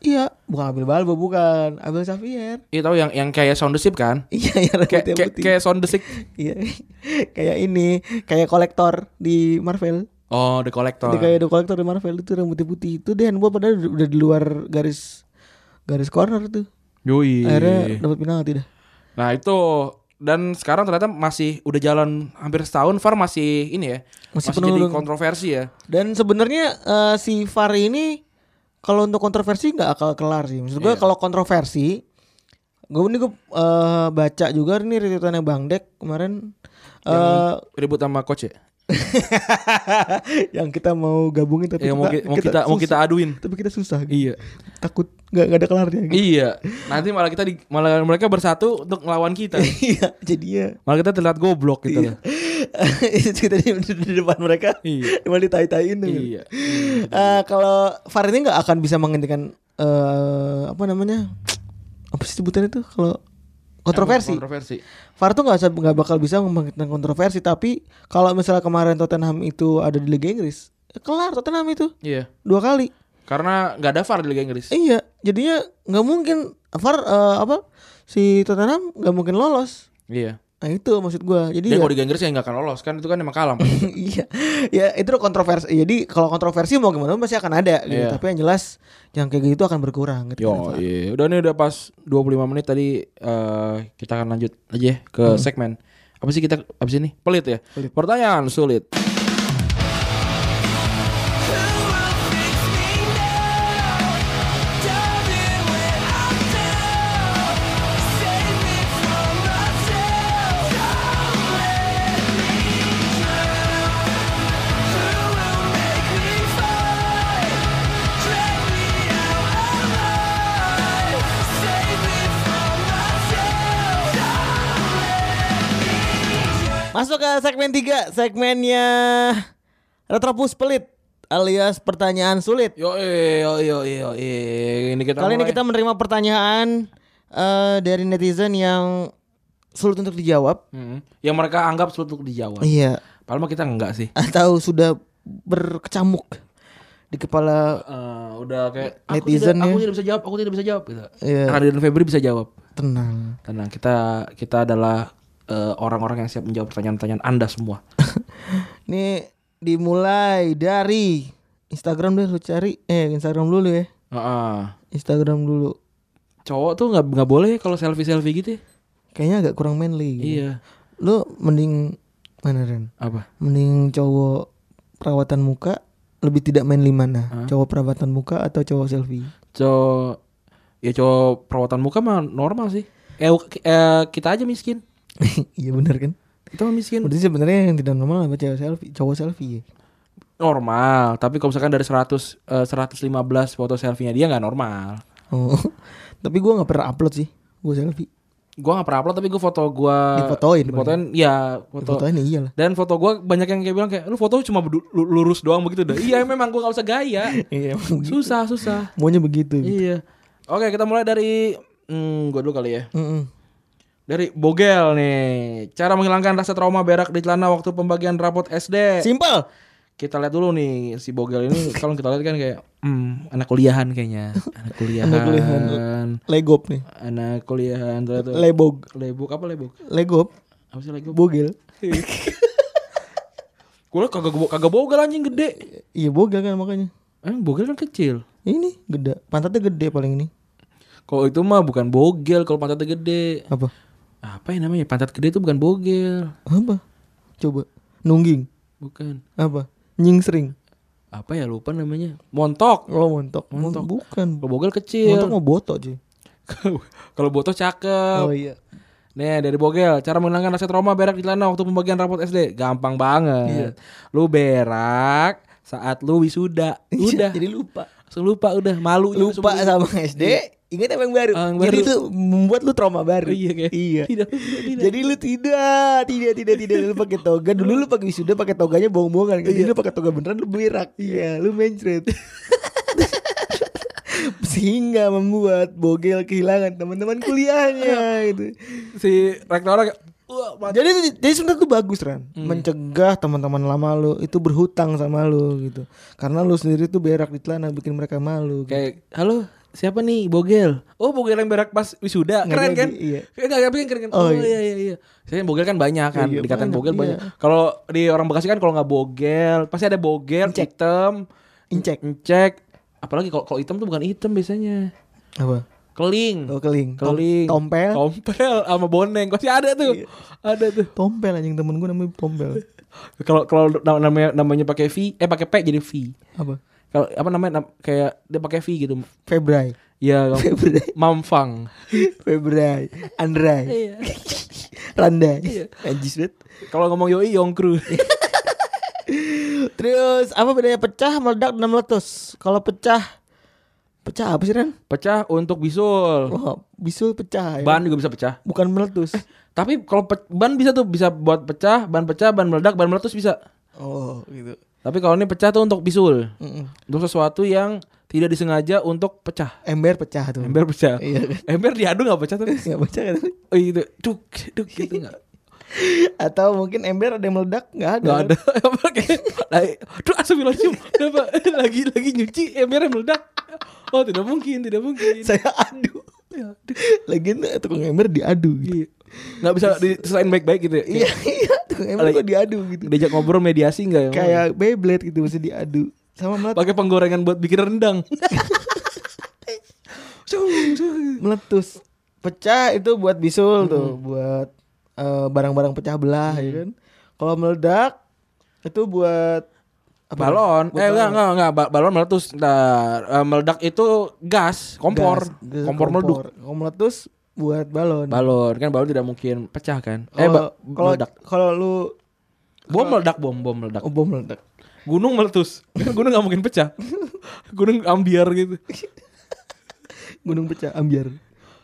Speaker 4: Iya, bukan Abel Balbo bukan, Abel Xavier.
Speaker 3: Iya tahu yang yang kayak sound the ship kan?
Speaker 4: Iya, yang
Speaker 3: Kayak
Speaker 4: rambutnya
Speaker 3: kayak
Speaker 4: putih.
Speaker 3: kayak sound the ship.
Speaker 4: Iya. [laughs] kayak ini, kayak kolektor di Marvel.
Speaker 3: Oh, the collector.
Speaker 4: Dia kayak ada kolektor di Marvel itu rambutnya putih. Itu dia handball padahal udah di luar garis garis corner tuh.
Speaker 3: Yoi.
Speaker 4: Akhirnya dapat penalti dah.
Speaker 3: Nah, itu dan sekarang ternyata masih udah jalan hampir setahun VAR masih ini ya.
Speaker 4: Masih
Speaker 3: Masih,
Speaker 4: penuh
Speaker 3: jadi
Speaker 4: dengan-
Speaker 3: kontroversi ya.
Speaker 4: Dan sebenarnya eh, si VAR ini kalau untuk kontroversi nggak akal kelar sih. Maksud
Speaker 3: Iya.
Speaker 4: gue kalau kontroversi, gue ini gue baca juga nih retweetannya Bang Dek kemarin eh
Speaker 3: Ribut sama coach ya.
Speaker 4: [laughs] yang kita mau gabungin tapi
Speaker 3: Yang Iya, mau ki- mau kita, mau kita
Speaker 4: susah.
Speaker 3: aduin.
Speaker 4: tapi kita susah. gitu.
Speaker 3: Iya.
Speaker 4: Takut nggak nggak ada kelarnya. Gitu.
Speaker 3: Iya. Nanti malah kita di- malah mereka bersatu untuk melawan
Speaker 4: [laughs]
Speaker 3: kita.
Speaker 4: Iya, jadi ya [laughs]
Speaker 3: malah kita terlihat goblok gitu loh.
Speaker 4: kita di, di depan mereka
Speaker 3: Iya.
Speaker 4: cuma ditai-taiin tuh.
Speaker 3: Iya.
Speaker 4: Eh, kalau VAR ini nggak akan bisa menghentikan eh apa namanya apa sih sebutannya tuh kalau kontroversi
Speaker 3: Kontroversi.
Speaker 4: VAR tuh nggak bisa- nggak bakal bisa menghentikan kontroversi tapi kalau misalnya kemarin Tottenham itu ada di Liga Inggris ya kelar Tottenham itu
Speaker 3: Iya.
Speaker 4: dua kali
Speaker 3: Karena nggak ada VAR di Liga Inggris.
Speaker 4: Eh, iya jadinya nggak mungkin VAR eh, apa si Tottenham nggak mungkin lolos
Speaker 3: Iya.
Speaker 4: nah itu maksud gua jadi
Speaker 3: Dia
Speaker 4: ya-
Speaker 3: kalau di Liga Inggris ya nggak akan lolos kan itu kan emang kalah.
Speaker 4: [laughs] iya ya itu udah kontroversi jadi kalau kontroversi mau gimana pun pasti akan ada gitu.
Speaker 3: Iya.
Speaker 4: tapi yang jelas yang kayak gitu akan berkurang gitu
Speaker 3: Yo, [laughs] iya. Udah nih udah pas 25 menit tadi eh, kita akan lanjut aja ya ke segmen. Apa sih kita abis ini? Pelit ya. Pertanyaan sulit.
Speaker 4: masuk ke segmen 3 segmennya retropus pelit alias pertanyaan sulit
Speaker 3: Yo, eh, yo, yo, yo, eh. Ini kita
Speaker 4: kali ini
Speaker 3: mulai.
Speaker 4: kita menerima pertanyaan eh, dari netizen yang sulit untuk dijawab
Speaker 3: Hmm. yang mereka anggap sulit untuk dijawab.
Speaker 4: iya
Speaker 3: Padahal mah kita enggak sih.
Speaker 4: atau sudah berkecamuk di kepala
Speaker 3: Eh, udah kayak aku
Speaker 4: Netizen
Speaker 3: tidak, aku
Speaker 4: ya.
Speaker 3: tidak bisa jawab, aku tidak bisa jawab gitu.
Speaker 4: Iya.
Speaker 3: Raden Febri bisa jawab.
Speaker 4: tenang
Speaker 3: Tenang, kita kita adalah eh, orang-orang yang siap
Speaker 4: [laughs]
Speaker 3: menjawab pertanyaan-pertanyaan Anda semua.
Speaker 4: Ini dimulai dari Instagram deh lu cari. Eh, Instagram dulu ya.
Speaker 3: Heeh.
Speaker 4: Instagram dulu.
Speaker 3: Cowok tuh nggak nggak boleh kalau selfie selfie gitu. ya
Speaker 4: Kayaknya agak kurang manly gitu.
Speaker 3: Iya.
Speaker 4: Lu mending mana Ren?
Speaker 3: Apa?
Speaker 4: Mending cowok perawatan muka lebih tidak manly mana? Cowok perawatan muka atau cowok selfie? [laughs]
Speaker 3: Cowok ya cowok perawatan muka mah normal sih. Eh, u- eh, kita aja miskin.
Speaker 4: Iya bener kan?
Speaker 3: Kita mah miskin.
Speaker 4: Berarti sebenarnya yang tidak normal apa cowok selfie? Cowok selfie ya.
Speaker 3: normal, tapi kalau misalkan dari 100 eh, 115 foto selfie-nya dia nggak normal.
Speaker 4: Oh. [laughs] Tapi gua nggak pernah upload sih. Gua selfie.
Speaker 3: Gua nggak pernah upload tapi gua foto gua
Speaker 4: Difotoin,
Speaker 3: difotoin ya foto.
Speaker 4: Fotonya nih iyalah.
Speaker 3: Dan foto gua banyak yang kayak bilang kayak lu foto cuma bedu- lu- lurus doang begitu dah. iya [laughs] memang gua nggak usah gaya.
Speaker 4: Iya, emang begitu.
Speaker 3: Susah, susah.
Speaker 4: [laughs] maunya begitu.
Speaker 3: iya. Oke, kita mulai dari hmm, gua dulu kali ya.
Speaker 4: Mm-mm.
Speaker 3: Dari Bogel nih. Cara menghilangkan rasa trauma berak di celana waktu pembagian rapot SD.
Speaker 4: Simple.
Speaker 3: kita lihat dulu nih si Bogel [laughs] ini kalau kita lihat kan kayak hmm, anak kuliahan kayaknya [laughs] anak kuliahan anak
Speaker 4: kuliahan.
Speaker 3: kuliahan
Speaker 4: Legop nih.
Speaker 3: anak kuliahan tuh lihat tuh.
Speaker 4: Lebog.
Speaker 3: lebok apa lebok
Speaker 4: Legop.
Speaker 3: apa sih lebok
Speaker 4: Bogel.
Speaker 3: gue kagak bo- kagak Bogel anjing gede
Speaker 4: Iya bogel kan makanya.
Speaker 3: eh Bogel kan kecil
Speaker 4: Ini gede. Pantatnya gede paling ini.
Speaker 3: kalau itu mah bukan Bogel kalau pantatnya gede
Speaker 4: Apa?
Speaker 3: apa yang namanya pantat gede itu bukan Bogel
Speaker 4: Apa? Coba. Nungging.
Speaker 3: bukan
Speaker 4: Apa? Nyingsring.
Speaker 3: apa ya lupa namanya montok
Speaker 4: Oh montok. Mon-
Speaker 3: Montok.
Speaker 4: Bukan.
Speaker 3: kalau Bogel
Speaker 4: Montok
Speaker 3: kecil
Speaker 4: mau botok cuy.
Speaker 3: [laughs] kalau botol cakep
Speaker 4: Oh [laughs] iya.
Speaker 3: Nih dari Bogel, cara menghilangkan rasa trauma berak di celana waktu pembagian rapot SD gampang banget.
Speaker 4: Iya.
Speaker 3: Lu berak saat lu wisuda, udah.
Speaker 4: Jadi lupa.
Speaker 3: Langsung lupa udah malu juga
Speaker 4: Lupa
Speaker 3: sebelum-
Speaker 4: sama SD. Ingat apa yang baru.
Speaker 3: Ah, Iya. yang
Speaker 4: Jadi
Speaker 3: baru.
Speaker 4: itu membuat lu trauma baru.
Speaker 3: Oh, iya kayak.
Speaker 4: Iya.
Speaker 3: Tidak, tidak, tidak.
Speaker 4: Jadi lu tidak, tidak, tidak, tidak lu pakai toga. Dulu lu pakai wisuda pakai toganya bohong-bohongan. kan. Jadi
Speaker 3: Iya.
Speaker 4: lu pakai toga beneran lu berak. Iya, lu mencret. [laughs] Sehingga membuat Bogel kehilangan teman-teman kuliahnya gitu.
Speaker 3: si ya, rektor kayak wah mati. Hmm.
Speaker 4: Jadi jadi sebenarnya tuh bagus Ran, mencegah teman-teman lama lu itu berhutang sama lu gitu. Karena lu sendiri tuh berak di celana bikin mereka malu. gitu.
Speaker 3: kayak halo siapa nih Bogel? Oh Bogel yang berak pas wisuda,
Speaker 4: Nggak
Speaker 3: keren
Speaker 4: jadi,
Speaker 3: kan?
Speaker 4: iya.
Speaker 3: Kayak nggak nggak bikin keren kan?
Speaker 4: Oh,
Speaker 3: Oh,
Speaker 4: iya.
Speaker 3: iya iya iya. Saya Bogel kan banyak kan,
Speaker 4: Iya,
Speaker 3: dikatain
Speaker 4: banyak,
Speaker 3: Bogel
Speaker 4: iya.
Speaker 3: banyak. Kalau di orang Bekasi kan kalau nggak Bogel pasti ada Bogel, hitam,
Speaker 4: Incek
Speaker 3: encek. Apalagi kalau kalau hitam tuh bukan hitam biasanya.
Speaker 4: apa?
Speaker 3: Keling.
Speaker 4: Oh, keling. Tom-
Speaker 3: Keling.
Speaker 4: Tompel. Iya.
Speaker 3: Tompel sama boneng. Pasti ada tuh. Ada tuh.
Speaker 4: Tompel anjing temen gue namanya Tompel.
Speaker 3: Kalau kalau nam- namanya namanya pakai V, eh pakai P jadi V.
Speaker 4: Apa?
Speaker 3: Kalau apa namanya nam- kayak dia pakai V gitu.
Speaker 4: Febrai. [laughs]
Speaker 3: Ya
Speaker 4: Febrai.
Speaker 3: mamfang.
Speaker 4: Febrai, Andrai, [laughs] Randai, Anjis banget.
Speaker 3: Kalau ngomong yoi yongkru.
Speaker 4: Terus apa bedanya pecah, meledak, dan meletus? Kalau pecah, pecah apa sih Ren?
Speaker 3: [laughs] pecah untuk bisul.
Speaker 4: Wah, bisul pecah ya.
Speaker 3: Ban juga bisa pecah.
Speaker 4: Bukan
Speaker 3: [laughs]
Speaker 4: meletus.
Speaker 3: Tapi kalau pe- ban bisa tuh bisa buat pecah, ban pecah, ban meledak, ban meletus bisa.
Speaker 4: Oh gitu.
Speaker 3: Tapi kalau ini pecah tuh untuk bisul.
Speaker 4: Mm-mm.
Speaker 3: Untuk sesuatu yang tidak disengaja untuk pecah.
Speaker 4: Ember pecah tuh.
Speaker 3: Ember pecah.
Speaker 4: Iya kan.
Speaker 3: Ember diadu nggak pecah tapi.
Speaker 4: [laughs] Nggak pecah kan?
Speaker 3: Oh gitu, duk, duk gitu nggak?
Speaker 4: Atau mungkin ember ada yang meledak nggak ada?
Speaker 3: Nggak ada. [laughs] Apa kayak, lai- Duh astagfirullahaladzim. Kenapa? Lagi lagi nyuci embernya meledak. Oh tidak mungkin, tidak mungkin.
Speaker 4: Saya adu. Lagian tuh tukang ember diadu. Gitu.
Speaker 3: Iya. Nggak bisa diselain baik-baik gitu ya?
Speaker 4: Iya iya tukang ember
Speaker 3: Lagi-
Speaker 4: kok diadu gitu.
Speaker 3: Diajak ngobrol mediasi nggak ya?
Speaker 4: Kayak Beyblade gitu mesti diadu. Sama meletus.
Speaker 3: Pakai penggorengan buat bikin rendang. Sung, sung.
Speaker 4: meletus. Pecah itu buat
Speaker 3: Hmm.
Speaker 4: bisul tuh, buat eh, barang-barang pecah belah ya kan. Kalau meledak itu buat apa?
Speaker 3: [laughs] balon,
Speaker 4: Buat
Speaker 3: eh enggak
Speaker 4: balon.
Speaker 3: enggak enggak Ba- balon meletus. Nah, eh, meledak itu gas, kompor,
Speaker 4: Gas, gas,
Speaker 3: kompor meleduk.
Speaker 4: Kalau meletus buat balon.
Speaker 3: Balon kan balon tidak mungkin pecah kan? eh
Speaker 4: Kalau-
Speaker 3: ba-
Speaker 4: kalau
Speaker 3: meledak.
Speaker 4: kalau lu
Speaker 3: Bom meledak, bom bom meledak.
Speaker 4: oh, bom meledak.
Speaker 3: Gunung meletus. Kan [laughs] gunung gak mungkin pecah. [laughs] gunung ambiar gitu.
Speaker 4: Gunung pecah ambiar.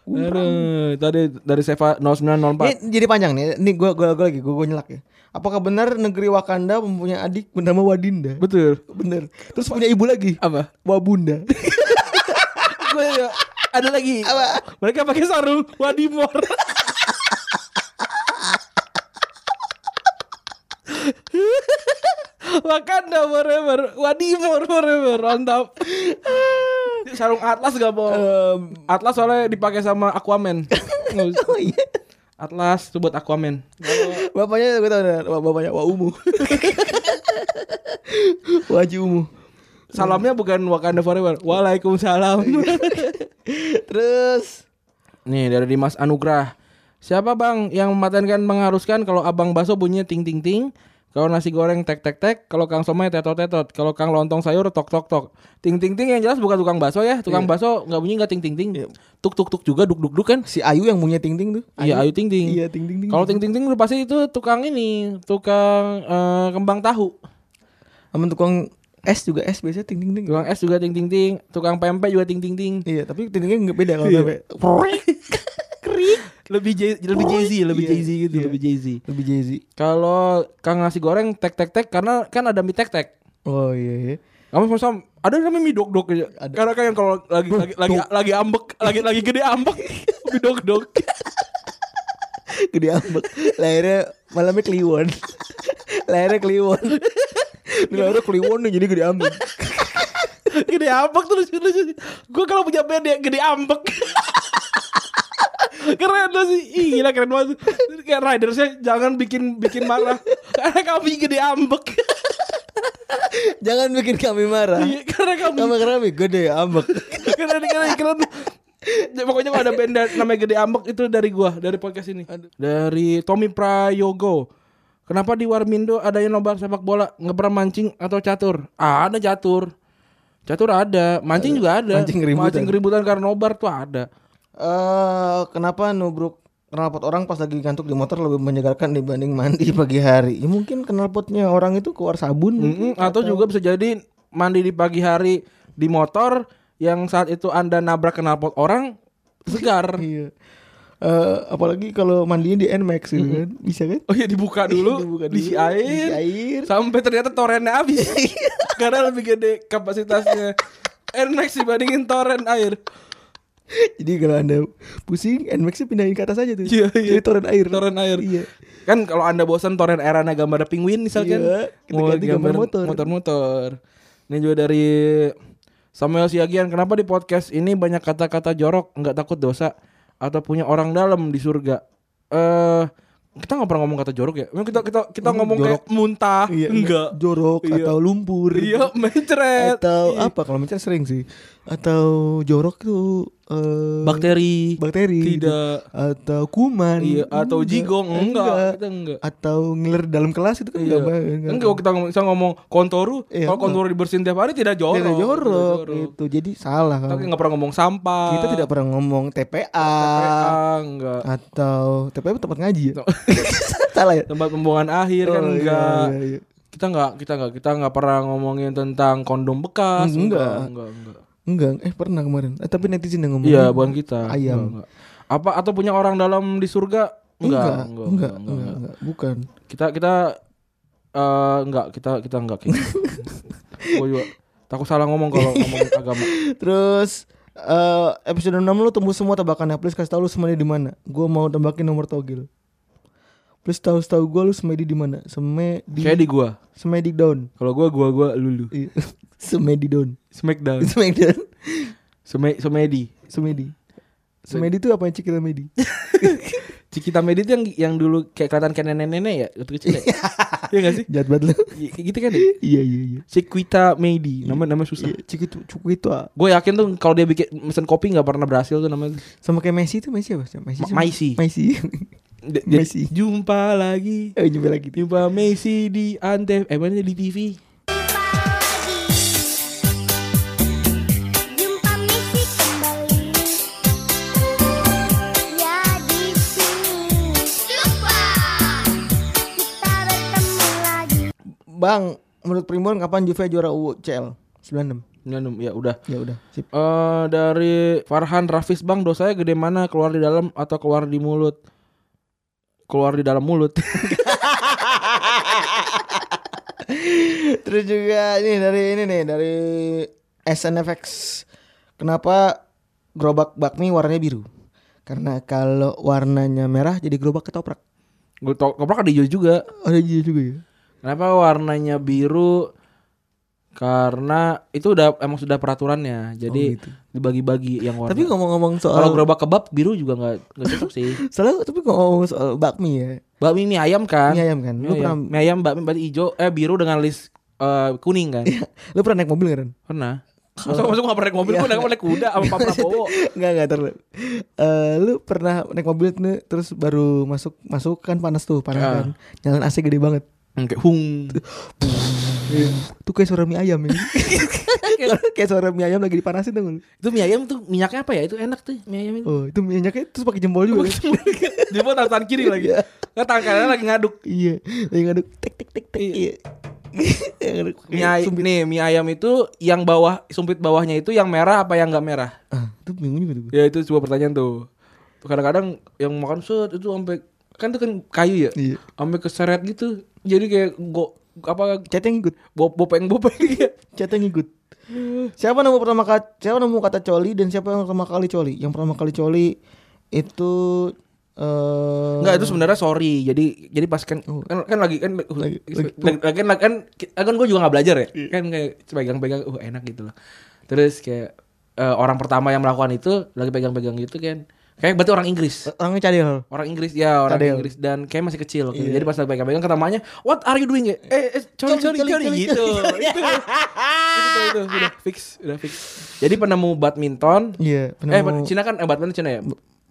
Speaker 3: Aduh, tadi dari Seva 0904.
Speaker 4: Ini jadi panjang nih. Ini gua gua, gua lagi gua, gua nyelak ya. Apakah benar negeri Wakanda mempunyai adik bernama Wadinda?
Speaker 3: Betul.
Speaker 4: Bener. Terus punya ibu lagi.
Speaker 3: Apa? [laughs]
Speaker 4: Wabunda.
Speaker 3: Gue ya, ada lagi. Mereka pakai sarung Wadimor. Wakanda forever, Wadimor forever, mantap. sarung atlas gak mau. atlas soalnya dipakai sama Aquaman.
Speaker 4: [laughs] oh iya.
Speaker 3: atlas itu buat Aquaman.
Speaker 4: Bapaknya
Speaker 3: [laughs]
Speaker 4: gue tau dah, bap- bapaknya Waumu. Waji Umu.
Speaker 3: salamnya bukan Wakanda Forever. Waalaikumsalam.
Speaker 4: Iya. Terus
Speaker 3: Nih dari Dimas Anugrah. Siapa bang yang mematenkan mengharuskan kalau abang bakso bunyinya ting ting ting, kalau nasi goreng tek tek tek, kalau kang somai tetot tetot, kalau kang lontong sayur tok tok tok. Ting ting ting yang jelas bukan tukang bakso ya, tukang bakso nggak bunyi nggak ting ting ting, tuk tuk tuk juga duk duk duk kan.
Speaker 4: si Ayu yang punya ting ting tuh.
Speaker 3: Iya ayu ting ting.
Speaker 4: Iya, ting ting ting.
Speaker 3: Kalau ting ting ting udah pasti itu tukang ini, tukang eh, kembang tahu.
Speaker 4: Sama tukang es juga es biasanya ting ting ting.
Speaker 3: Tukang es juga ting ting ting, tukang pempek juga ting ting ting.
Speaker 4: Iya, tapi ting tingnya nggak beda kalau
Speaker 3: Iya.
Speaker 4: sampai Krik.
Speaker 3: Lebih Jay- lebih Jay Z, lebih
Speaker 4: Iya,
Speaker 3: Jay Z gitu,
Speaker 4: iya.
Speaker 3: lebih Jay Z.
Speaker 4: Lebih Jay Z.
Speaker 3: Kalau kang nasi goreng tek tek tek karena kan ada mie tek tek.
Speaker 4: Oh iya iya.
Speaker 3: Kamu sama ada namanya mie dok dok aja. Karena kan yang kalau lagi lagi lagi, lagi ambek, lagi lagi gede ambek, [laughs] mie dok dok. [laughs]
Speaker 4: Gede ambek. Lahirnya malamnya kliwon. Lahirnya kliwon. Ini lahirnya kliwon nih jadi gede ambek.
Speaker 3: gede ambek tuh lucu lucu. Gue kalau punya band ya gede ambek. [laughs] keren loh sih Ih, gila keren banget kayak ridersnya jangan bikin bikin marah [laughs] karena kami gede ambek [laughs]
Speaker 4: Jangan bikin kami marah.
Speaker 3: Iya, karena kami
Speaker 4: Sama kami gede ambek. Kan
Speaker 3: keren keren keren
Speaker 4: gitu.
Speaker 3: Ya, pokoknya kalau ada band da- namanya Gede Ambek itu dari gua dari podcast ini dari Tommy Prayogo kenapa di Warmindo ada yang lomba sepak bola nggak pernah mancing atau catur ah, ada catur catur ada mancing juga ada
Speaker 4: Mancing keributan.
Speaker 3: mancing keributan karena nobar tuh ada
Speaker 4: Eh, kenapa nubruk knalpot orang pas lagi ngantuk di motor lebih menyegarkan dibanding mandi pagi hari? Ya mungkin knalpotnya orang itu keluar sabun.
Speaker 3: Mm-mm, atau juga bisa jadi mandi di pagi hari di motor yang saat itu anda nabrak knalpot orang
Speaker 4: [laughs]
Speaker 3: segar
Speaker 4: Iya. Eh, apalagi kalau mandinya di Nmax gitu kan, bisa kan?
Speaker 3: Oh iya dibuka dulu,
Speaker 4: Dibuka dulu,
Speaker 3: diisi air,
Speaker 4: diisi air. Iya,
Speaker 3: sampai ternyata torrentnya habis. Karena lebih gede kapasitasnya. Nmax dibandingin torrent air.
Speaker 4: Jadi kalau anda pusing, Nmaxnya pindahin ke atas aja tuh.
Speaker 3: Iya, iya.
Speaker 4: Jadi torrent air.
Speaker 3: Torrent air.
Speaker 4: Iya.
Speaker 3: Kan kalau anda bosan torrent airnya gambar ada penguin misalkan.
Speaker 4: Iya, kita
Speaker 3: Mau
Speaker 4: ganti gambar motor.
Speaker 3: Motor-motor. Ini juga dari Samuel Siagian. Kenapa di podcast ini banyak kata-kata jorok, nggak takut dosa atau punya orang dalam di surga? Eh kita nggak pernah ngomong kata jorok ya. Memang kita kita kita ngomong kayak muntah,
Speaker 4: Iya,
Speaker 3: enggak.
Speaker 4: Jorok
Speaker 3: Iya.
Speaker 4: atau lumpur.
Speaker 3: Iya, mencret.
Speaker 4: Atau
Speaker 3: Iya.
Speaker 4: apa? Kalau mencret sering sih. Atau jorok tuh eh,
Speaker 3: bakteri
Speaker 4: bakteri gitu.
Speaker 3: tidak
Speaker 4: atau kuman
Speaker 3: iya atau
Speaker 4: Enggak.
Speaker 3: jigong enggak kita enggak
Speaker 4: atau ngiler dalam kelas itu kan
Speaker 3: Iya.
Speaker 4: enggak banget
Speaker 3: enggak kita ngomong bisa ngomong kontoru
Speaker 4: Iya,
Speaker 3: kalau
Speaker 4: enggak.
Speaker 3: kontoru dibersihin tiap hari tidak jorok
Speaker 4: jorok, jorok itu jadi salah kamu.
Speaker 3: tapi nggak pernah ngomong sampah
Speaker 4: kita tidak pernah ngomong TPA,
Speaker 3: TPA, enggak
Speaker 4: atau TPA itu tempat ngaji ya [laughs] salah ya
Speaker 3: tempat pembuangan akhir kan
Speaker 4: Oh, iya,
Speaker 3: enggak
Speaker 4: iya, iya.
Speaker 3: kita enggak kita enggak kita enggak pernah ngomongin tentang kondom bekas
Speaker 4: Hmm, Enggak.
Speaker 3: enggak enggak
Speaker 4: enggak eh pernah kemarin eh, tapi netizen yang ngomong
Speaker 3: iya bukan kita
Speaker 4: Ayam.
Speaker 3: Enggak, enggak. apa atau punya orang dalam di surga
Speaker 4: enggak
Speaker 3: enggak
Speaker 4: enggak enggak, enggak. bukan
Speaker 3: kita kita eh enggak kita kita enggak kayak
Speaker 4: [laughs]
Speaker 3: gitu. Gua juga takut salah ngomong kalau ngomong agama
Speaker 4: terus eh, episode 6 lu tembus semua tebakannya please kasih tau lu semuanya di mana gua mau tembakin nomor togel please tahu tahu gua lu semedi di mana semedi
Speaker 3: kayak di gua
Speaker 4: semedi down
Speaker 3: kalau gua gua gua lulu
Speaker 4: Iya. [laughs] semedi down [laughs]
Speaker 3: smackdown
Speaker 4: Smackdown
Speaker 3: Some, somedi
Speaker 4: Semedi Semedi itu apa Cikita Medi
Speaker 3: Cikita Medi itu yang yang dulu kayak kelihatan kayak nenek-nenek ya waktu kecil
Speaker 4: [laughs]
Speaker 3: ya iya gak sih
Speaker 4: Jahat banget lu [laughs]
Speaker 3: Iya, kayak gitu kan ya
Speaker 4: Iya iya iya
Speaker 3: Cikita Medi nama nama susah
Speaker 4: Iya, Cikita Cikita ah.
Speaker 3: gue yakin tuh kalau dia bikin mesen kopi nggak pernah berhasil tuh namanya
Speaker 4: Sama kayak Messi itu Messi apa? Messi [laughs]
Speaker 3: Ma- Maisi.
Speaker 4: Maisi
Speaker 3: Dia- dia-
Speaker 4: Messi.
Speaker 3: jumpa lagi
Speaker 4: Eh jumpa lagi
Speaker 3: jumpa Messi di Antep eh mana di TV
Speaker 5: Jumpa Messi kembali Ya di sini Jumpa Kita bertemu lagi
Speaker 4: Bang Menurut Primbon kapan Juve juara UCL? 96
Speaker 3: 96 ya udah
Speaker 4: Ya udah sip
Speaker 3: eh dari Farhan Rafis Bang dosanya gede mana keluar di dalam atau keluar di mulut? Keluar di dalam mulut. [laughs]
Speaker 4: Terus juga ini dari ini nih Dari SNFX Kenapa gerobak bakmi warnanya biru? Karena kalau warnanya merah jadi gerobak ketoprak
Speaker 3: Gue toprak ada hijau juga.
Speaker 4: Ada juga juga ya
Speaker 3: Kenapa warnanya biru? Karena itu udah emang sudah peraturannya. Jadi dibagi-bagi yang warna.
Speaker 4: Oh, gitu. Tapi ngomong-ngomong soal
Speaker 3: kalau gerobak kebab biru juga nggak nggak cocok
Speaker 4: [laughs]
Speaker 3: sih.
Speaker 4: Soalnya tapi kalau ngomong soal bakmi ya
Speaker 3: Bakmi mie ayam kan?
Speaker 4: Mie ayam kan?
Speaker 3: Mie
Speaker 4: Lu
Speaker 3: ayam,
Speaker 4: pernah-
Speaker 3: mie ayam bakmi berarti hijau eh biru dengan list eh, kuning kan?
Speaker 4: Lu pernah naik mobil kan? nggak [laughs] Ren?
Speaker 3: Pernah. Masa masuk nggak pernah naik mobil,
Speaker 4: Iya.
Speaker 3: gue naik naik kuda sama
Speaker 4: [laughs]
Speaker 3: Pak Prabowo.
Speaker 4: Enggak enggak terlalu. Eh, lu pernah naik mobil tuh, terus baru masuk masuk kan panas tuh panas
Speaker 3: Ah.
Speaker 4: kan. Nyalain AC gede banget.
Speaker 3: Kayak hung.
Speaker 4: Tuh kayak suara mie
Speaker 3: [laughs]
Speaker 4: ayam ini. kayak suara mie ayam lagi dipanasin tuh. Bang.
Speaker 3: Itu mie ayam tuh minyaknya apa ya? Itu enak tuh mie ayam [laughs] itu.
Speaker 4: Oh itu minyaknya terus pakai jempol juga.
Speaker 3: [laughs]
Speaker 4: kan?
Speaker 3: Dia buat tangan kiri lagi. Nggak tangan kanannya lagi ngaduk.
Speaker 4: iya. Lagi ngaduk tek tek tek tek. Iya. [laughs] Lagi ngaduk.
Speaker 3: Mie ayam, nih mie ayam itu yang bawah sumpit bawahnya itu yang merah apa yang nggak merah?
Speaker 4: Ah, itu bingung juga tuh. gue.
Speaker 3: Ya itu sebuah pertanyaan tuh. Tuh Kadang-kadang yang makan set itu sampai kan itu kan kayu ya,
Speaker 4: Iya.
Speaker 3: sampai keseret gitu. Jadi kayak go apa
Speaker 4: Chatnya ngikut.
Speaker 3: bo- bopeng bopeng ya.
Speaker 4: Chatnya ngikut. Siapa nemu pertama kali siapa nemu kata coli dan siapa yang pertama kali coli? Yang pertama kali coli itu eh
Speaker 3: Enggak itu sebenarnya sorry. Jadi jadi pas kan kan, kan lagi kan lagi
Speaker 4: Oh. Lagi- Iya.
Speaker 3: lagi, kan, kan, kan gue juga nggak belajar ya. Kan kayak pegang-pegang uh enak gitu loh. Terus kayak eh, orang pertama yang melakukan itu lagi pegang-pegang gitu kan. Kayak berarti orang Inggris.
Speaker 4: orangnya cadel.
Speaker 3: Orang Inggris ya, orang
Speaker 4: Cadel.
Speaker 3: Inggris dan kayak masih kecil. Kayak. Jadi pas lagi pegang-pegang kata mamanya, "What are you doing?" Eh, eh sorry, sorry,
Speaker 4: Iya. Coli, coli,
Speaker 3: sorry
Speaker 4: coli,
Speaker 3: gitu.
Speaker 4: coli.
Speaker 3: Itu itu itu udah fix, udah fix. Jadi penemu badminton
Speaker 4: Iya,
Speaker 3: Eh,
Speaker 4: penemu-
Speaker 3: Cina kan eh, badminton Cina ya.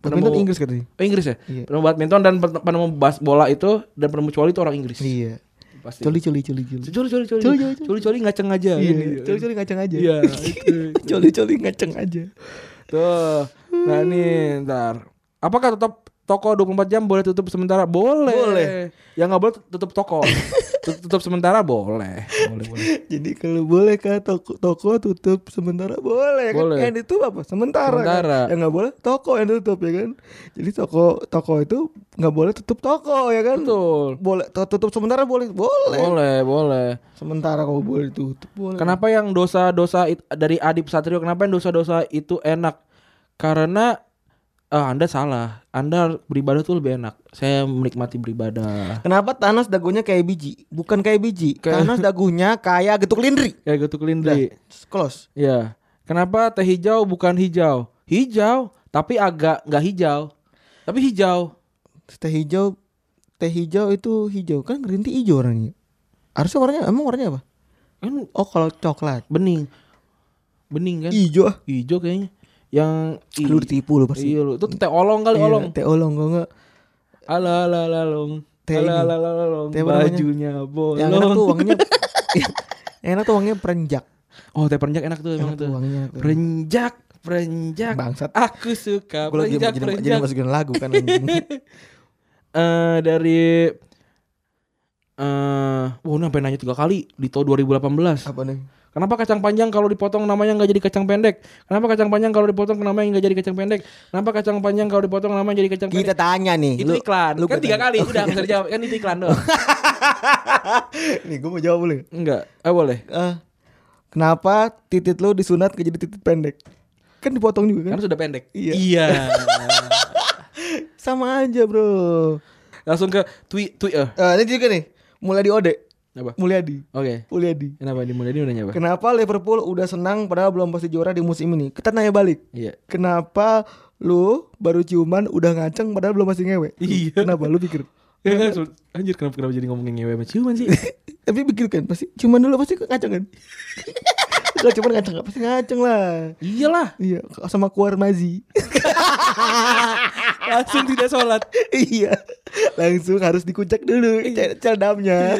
Speaker 4: Badminton Inggris katanya.
Speaker 3: Oh, Inggris ya?
Speaker 4: Iya.
Speaker 3: Penemu badminton dan pen- penemu bas bola itu dan penemu coli itu orang Inggris.
Speaker 4: Iya.
Speaker 3: Pasti.
Speaker 4: Coli coli coli coli.
Speaker 3: Coli coli coli.
Speaker 4: Coli, coli, coli.
Speaker 3: Coli coli ngaceng aja.
Speaker 4: Iya,
Speaker 3: gitu. Ini.
Speaker 4: coli coli ngaceng aja. [laughs]
Speaker 3: Iya, itu.
Speaker 4: coli coli ngaceng aja.
Speaker 3: Tuh. Nah, nih ntar. Apakah tetap toko 24 jam boleh tutup sementara? Boleh.
Speaker 4: Boleh.
Speaker 3: Yang nggak boleh tutup
Speaker 4: [laughs]
Speaker 3: toko. Tut- tutup sementara boleh. Boleh, boleh.
Speaker 4: Jadi kalau boleh kan toko, toko tutup sementara boleh,
Speaker 3: Boleh.
Speaker 4: kan? Yang itu apa? Sementara. kan?
Speaker 3: Sementara.
Speaker 4: Yang nggak boleh toko yang tutup ya kan? Jadi toko toko itu nggak boleh tutup toko ya kan?
Speaker 3: Betul.
Speaker 4: Boleh to- tutup sementara boleh boleh.
Speaker 3: Boleh, boleh.
Speaker 4: Sementara kalau boleh tutup boleh.
Speaker 3: Kenapa yang dosa-dosa it- dari Adip Satrio kenapa yang dosa-dosa itu enak? Karena ah, Anda salah. Anda beribadah tuh lebih enak. Saya menikmati beribadah.
Speaker 4: Kenapa Thanos dagunya kayak biji? Bukan kayak biji.
Speaker 3: Kayak-
Speaker 4: Thanos dagunya kayak getuk lindri.
Speaker 3: Ya gitu kelindri.
Speaker 4: Close.
Speaker 3: Ya. Kenapa teh hijau bukan hijau? Hijau, tapi agak nggak hijau. Tapi hijau.
Speaker 4: Teh hijau teh hijau itu hijau kan green tea hijau orangnya. Harusnya warnanya emang warnanya apa?
Speaker 3: Kan
Speaker 4: Oh kalau coklat
Speaker 3: bening. Bening kan?
Speaker 4: hijau ah.
Speaker 3: Hijau kayaknya. Yang i-
Speaker 4: Lu ditipu lu pasti.
Speaker 3: Iya lu. Itu teh olong kali
Speaker 4: Iya,
Speaker 3: olong.
Speaker 4: Teh olong gua enggak.
Speaker 3: Ala ala ala long.
Speaker 4: Teh
Speaker 3: Ala
Speaker 4: ini.
Speaker 3: ala ala long.
Speaker 4: Teh apa namanya?
Speaker 3: Bajunya bolong.
Speaker 4: Yang Ya, enak tuh
Speaker 3: [laughs]
Speaker 4: wanginya. yang enak tuh wanginya perenjak.
Speaker 3: Oh teh perenjak enak tuh emang
Speaker 4: Enak tuh
Speaker 3: tuh.
Speaker 4: wanginya tuh.
Speaker 3: Perenjak, perenjak.
Speaker 4: Bangsat.
Speaker 3: Aku suka
Speaker 4: Gua lagi
Speaker 3: perenjak,
Speaker 4: jadi, jadi
Speaker 3: perenjak. Eh
Speaker 4: masukin lagu kan.
Speaker 3: [laughs]
Speaker 4: anjing.
Speaker 3: dari eh wow, ini sampai nanya tiga kali di tahun 2018.
Speaker 4: apa nih?
Speaker 3: Kenapa kacang panjang kalau dipotong namanya nggak jadi kacang pendek? Kenapa kacang panjang kalau dipotong namanya nggak jadi kacang pendek? Kenapa kacang panjang kalau dipotong namanya jadi kacang
Speaker 4: Kita
Speaker 3: pendek?
Speaker 4: tanya nih.
Speaker 3: Itu iklan. kan tiga kali
Speaker 4: udah
Speaker 3: udah bisa dijawab. Kan itu iklan
Speaker 4: [laughs]
Speaker 3: doang.
Speaker 4: nih gua mau jawab boleh.
Speaker 3: Enggak. Eh boleh.
Speaker 4: Eh, kenapa titit lu disunat ke jadi titit pendek? Kan dipotong juga kan?
Speaker 3: Karena sudah pendek.
Speaker 4: Iya.
Speaker 3: iya.
Speaker 4: Sama aja, Bro.
Speaker 3: Langsung ke tweet Twitter.
Speaker 4: Eh, ini juga nih. Mulai di Ode.
Speaker 3: Apa? Oke.
Speaker 4: Mulyadi. Mulyadi.
Speaker 3: Kenapa di Mulyadi udah nyapa?
Speaker 4: Kenapa Liverpool udah senang padahal belum pasti juara di musim ini? Kita nanya balik.
Speaker 3: Iya.
Speaker 4: Kenapa lu baru ciuman udah ngaceng padahal belum pasti ngewe?
Speaker 3: Iya.
Speaker 4: Kenapa lu pikir?
Speaker 3: Ya, kan, anjir kenapa kenapa jadi ngomongin ngewe sama ciuman sih?
Speaker 4: Tapi pikir kan pasti ciuman dulu pasti ngaceng kan? Gak cuman ngaceng gak pasti ngaceng lah.
Speaker 3: Iyalah,
Speaker 4: Iya, sama kuar mazi.
Speaker 3: [laughs] langsung tidak sholat.
Speaker 4: iya. Langsung harus dikucak dulu cer- cerdamnya.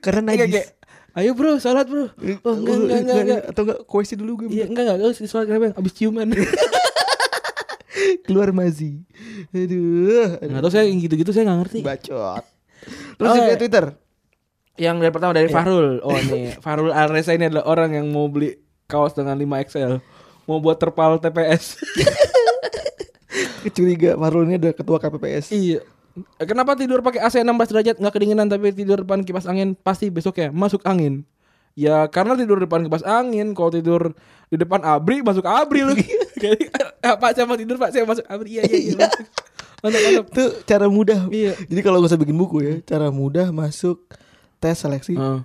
Speaker 4: Karena
Speaker 3: Kayak Iya. kayak,
Speaker 4: najis.
Speaker 3: ayo bro, sholat bro. Oh, enggak enggak enggak. enggak.
Speaker 4: Atau Eh, enggak kuesi dulu gue.
Speaker 3: Iya enggak enggak harus sholat kenapa? Abis ciuman.
Speaker 4: Keluar mazi. Aduh.
Speaker 3: Nggak tahu saya yang gitu-gitu saya nggak ngerti.
Speaker 4: Bacot. Terus
Speaker 3: Oke.
Speaker 4: juga Twitter.
Speaker 3: Yang dari pertama dari [laughs] Farul. Oh nih, Farul Aresa ini adalah orang yang mau beli kaos dengan 5 XL, mau buat terpal TPS.
Speaker 4: Kecuriga Farul ini udah ketua KPPS.
Speaker 3: Iya. Eh, Kenapa tidur pakai AC 16 derajat nggak kedinginan tapi tidur depan kipas angin pasti besok ya masuk angin. Ya karena tidur depan kipas angin, kalau tidur di depan abri masuk abri lu. [laughs] Jadi "Eh, Pak saya mau tidur Pak saya masuk abri. Iya iya iya. masuk. Mantap mantap.
Speaker 4: Itu cara mudah.
Speaker 3: Iya.
Speaker 4: Jadi kalau nggak usah bikin buku ya, cara mudah masuk tes seleksi
Speaker 3: Heeh.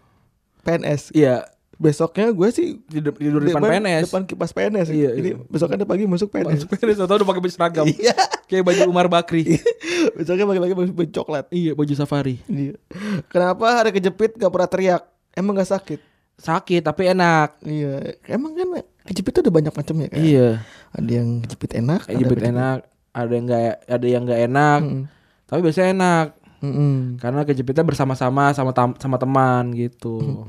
Speaker 4: PNS.
Speaker 3: Iya
Speaker 4: Besoknya gue sih
Speaker 3: tidur, tidur depan, PNS. [laughs]
Speaker 4: depan kipas PNS.
Speaker 3: Iya,
Speaker 4: Jadi
Speaker 3: iya.
Speaker 4: besoknya pagi masuk PNS.
Speaker 3: Masuk PNS atau udah pakai baju seragam.
Speaker 4: [laughs] Iya.
Speaker 3: Kayak baju Umar Bakri.
Speaker 4: besoknya pagi-pagi masuk baju coklat.
Speaker 3: iya baju safari.
Speaker 4: Iya. Kenapa hari kejepit gak pernah teriak? Emang gak sakit?
Speaker 3: Sakit tapi enak.
Speaker 4: Iya, emang kan kejepit tuh ada banyak macamnya kan.
Speaker 3: Iya.
Speaker 4: Ada yang kejepit enak, ada
Speaker 3: Jepit enak, ada yang enggak ada yang enggak enak.
Speaker 4: Mm-mm.
Speaker 3: Tapi biasanya enak
Speaker 4: Mm-mm.
Speaker 3: karena kejepitnya bersama-sama sama tam- sama teman gitu.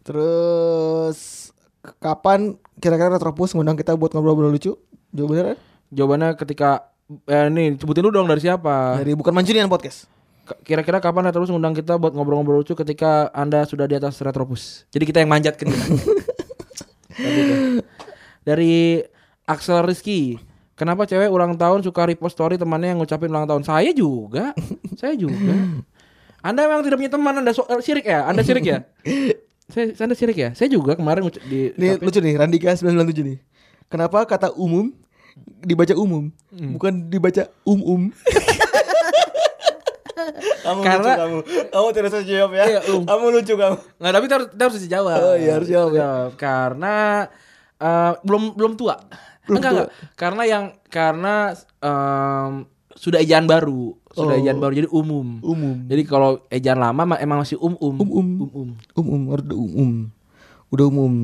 Speaker 4: Terus k- kapan kira-kira Retropus ngundang kita buat ngobrol-ngobrol lucu? Jawabannya kan?
Speaker 3: Jawabannya ketika eh nih sebutin lu dong dari siapa.
Speaker 4: dari bukan Mancunian podcast.
Speaker 3: K- Kira-kira kapan ya terus ngundang kita buat ngobrol-ngobrol lucu ketika Anda sudah di atas retropus. Jadi kita yang manjat ke dia. Tadi tuh. dari Axel Rizky. Kenapa cewek ulang tahun suka repost story temannya yang ngucapin ulang tahun? Saya juga. Saya juga. Anda memang tidak punya teman, Anda so- eh, sirik ya? Anda sirik ya? Saya, saya- anda sirik ya? Saya juga kemarin nguc- di
Speaker 4: Ini lucu
Speaker 3: ngucapin-
Speaker 4: nih, Randika 997 nih. Kenapa kata umum dibaca umum, bukan dibaca um-um? kamu
Speaker 3: Karena-
Speaker 4: lucu kamu. Kamu tidak usah jawab ya.
Speaker 3: Iya, um.
Speaker 4: Kamu lucu kamu.
Speaker 3: Nggak, tapi kita harus, kita harus isi jawab.
Speaker 4: Oh, iya, harus jawab, ya.
Speaker 3: Karena eh, belum belum tua. enggak, enggak. Karena yang karena em, sudah ejaan baru,
Speaker 4: Oh.
Speaker 3: sudah
Speaker 4: Um.
Speaker 3: ejaan baru jadi umum.
Speaker 4: Umum.
Speaker 3: Jadi kalau ejaan lama ma- emang masih um um.
Speaker 4: Um-um.
Speaker 3: um.
Speaker 4: Um-um, harus udah um-um. Udah umum.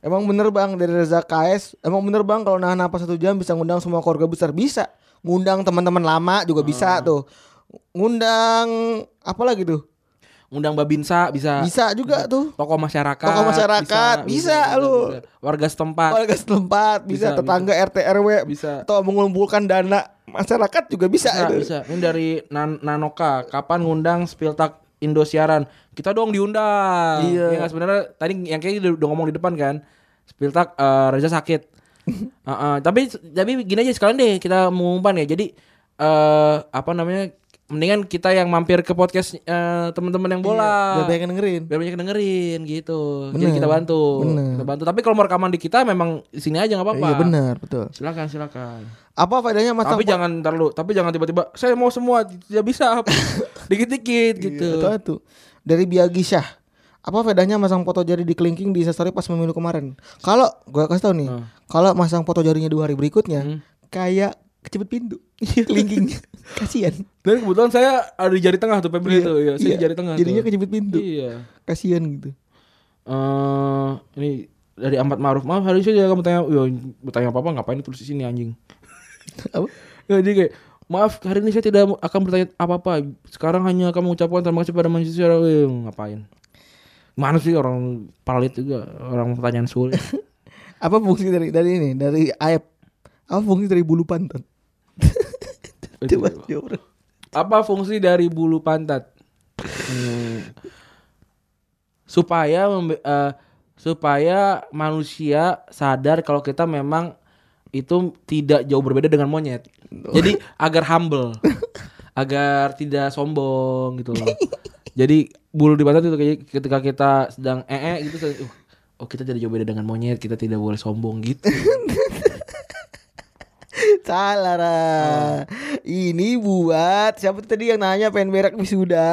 Speaker 4: Emang bener bang dari Reza KS Emang bener bang kalau nahan napas satu jam bisa ngundang semua keluarga besar Bisa Ngundang teman-teman lama juga bisa tuh Ngundang apa lagi tuh
Speaker 3: Undang Babinsa bisa.
Speaker 4: Bisa juga tuh
Speaker 3: Tokoh masyarakat.
Speaker 4: Tokoh masyarakat, bisa, lu.
Speaker 3: Warga setempat.
Speaker 4: warga setempat bisa,
Speaker 3: Bisa,
Speaker 4: tetangga RT RW
Speaker 3: Bisa.
Speaker 4: atau mengumpulkan dana masyarakat juga bisa,
Speaker 3: Bisa,
Speaker 4: itu.
Speaker 3: bisa. Ini dari Nan- Nanoka. Kapan ngundang Spiltak Indosiaran? Kita dong diundang.
Speaker 4: Iya.
Speaker 3: Ya nggak, sebenarnya tadi yang kayaknya udah, udah ngomong di depan kan. Spiltak eh, Reza
Speaker 4: [laughs]
Speaker 3: sakit. Heeh, tapi tapi gini aja sekalian deh kita mengumpan ya. Jadi eh apa namanya? Mendingan kita yang mampir ke podcast eh, teman-teman yang
Speaker 4: Iya,
Speaker 3: bola.
Speaker 4: Biar banyak yang dengerin
Speaker 3: Biar banyak yang dengerin gitu. Jadi
Speaker 4: Bener,
Speaker 3: kita bantu.
Speaker 4: bener.
Speaker 3: Kita bantu. Tapi kalau mau rekaman di kita memang di sini aja nggak apa-apa.
Speaker 4: iya benar betul
Speaker 3: Silakan, silakan
Speaker 4: apa faedahnya masang
Speaker 3: tapi jangan ntar lu, tapi jangan tiba-tiba saya mau semua tidak
Speaker 4: [laughs]
Speaker 3: bisa apa. dikit-dikit gitu.
Speaker 4: itu itu dari Biagi Syah apa faedahnya masang foto jari di kelingking di instastory pas pemilu kemarin kalau gua kasih tau nih
Speaker 3: Hmm.
Speaker 4: kalau masang foto jarinya dua hari berikutnya kayak kecebet
Speaker 3: [laughs]
Speaker 4: pintu
Speaker 3: Iya.
Speaker 4: kelingkingnya kasihan
Speaker 3: Dan kebetulan saya ada di jari tengah tuh Febri itu ya, saya
Speaker 4: Iya,
Speaker 3: di jari tengah.
Speaker 4: jadinya
Speaker 3: tuh.
Speaker 4: kejepit pintu
Speaker 3: Iya.
Speaker 4: kasihan gitu [laughs]
Speaker 3: Eh, ini dari Ahmad Maruf. Maaf hari saya kamu tanya, yo bertanya apa-apa ngapain tulis di sini anjing.
Speaker 4: apa
Speaker 3: Ya, jadi kayak Maaf, hari ini saya tidak akan bertanya apa-apa. Sekarang hanya kamu mengucapkan terima kasih pada manusia secara Wih, ngapain? Mana sih orang palit juga, orang pertanyaan sulit. [laughs]
Speaker 4: apa fungsi dari dari ini dari aib apa fungsi dari bulu pantat
Speaker 3: [laughs]
Speaker 4: coba jawab Bro.
Speaker 3: apa fungsi dari bulu pantat Hmm. supaya membe- eh, supaya manusia sadar kalau kita memang itu tidak jauh berbeda dengan monyet jadi agar humble agar tidak sombong gitu loh jadi bulu di pantat itu kayak ketika kita sedang ee gitu kayak, "Uh, oh kita tidak jauh beda dengan monyet kita tidak boleh sombong gitu
Speaker 4: salah Ra.
Speaker 3: Ah.
Speaker 4: ini buat siapa tuh tadi yang nanya pengen berak
Speaker 3: Ah.
Speaker 4: wisuda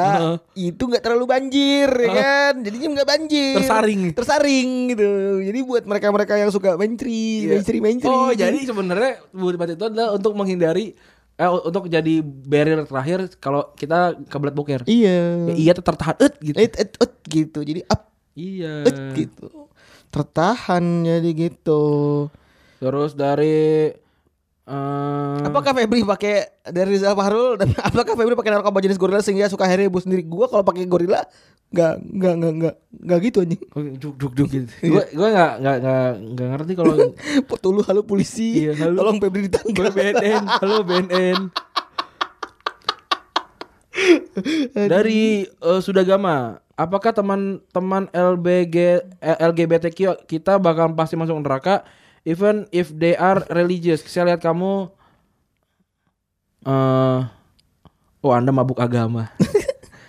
Speaker 4: itu nggak terlalu banjir ya kan jadinya nggak banjir
Speaker 3: Tersaring.
Speaker 4: tersaring gitu jadi buat mereka-mereka yang suka mencri mencri mencri
Speaker 3: Oh jadi sebenarnya bulu pantat itu adalah untuk menghindari eh, untuk jadi barrier terakhir kalau kita kebelet boker.
Speaker 4: iya
Speaker 3: Ya, iya tetap tertahan "Ut," gitu.
Speaker 4: et, et, ut, gitu jadi up
Speaker 3: Iya.
Speaker 4: ut, gitu tertahan jadi gitu
Speaker 3: Terus dari eh,
Speaker 4: Hmm. Apakah Febri pakai dari Rizal Fahrul dan [laughs] apakah Febri pakai narkoba jenis gorila sehingga suka Harry ibu sendiri? Gua kalau pakai gorila nggak nggak nggak nggak nggak gitu anjing. [laughs]
Speaker 3: oh, duk duk duk gitu. Gue gue nggak nggak nggak nggak ngerti kalau
Speaker 4: Tulu halo polisi.
Speaker 3: Iya, halo.
Speaker 4: Tolong Febri ditangkap.
Speaker 3: Gue BNN, halo BNN. Dari eh, Sudagama, apakah teman-teman LBG eh, LGBTQ kita bakal pasti masuk neraka even if they are religious? Saya lihat kamu eh oh Anda mabuk
Speaker 4: [laughs]
Speaker 3: agama.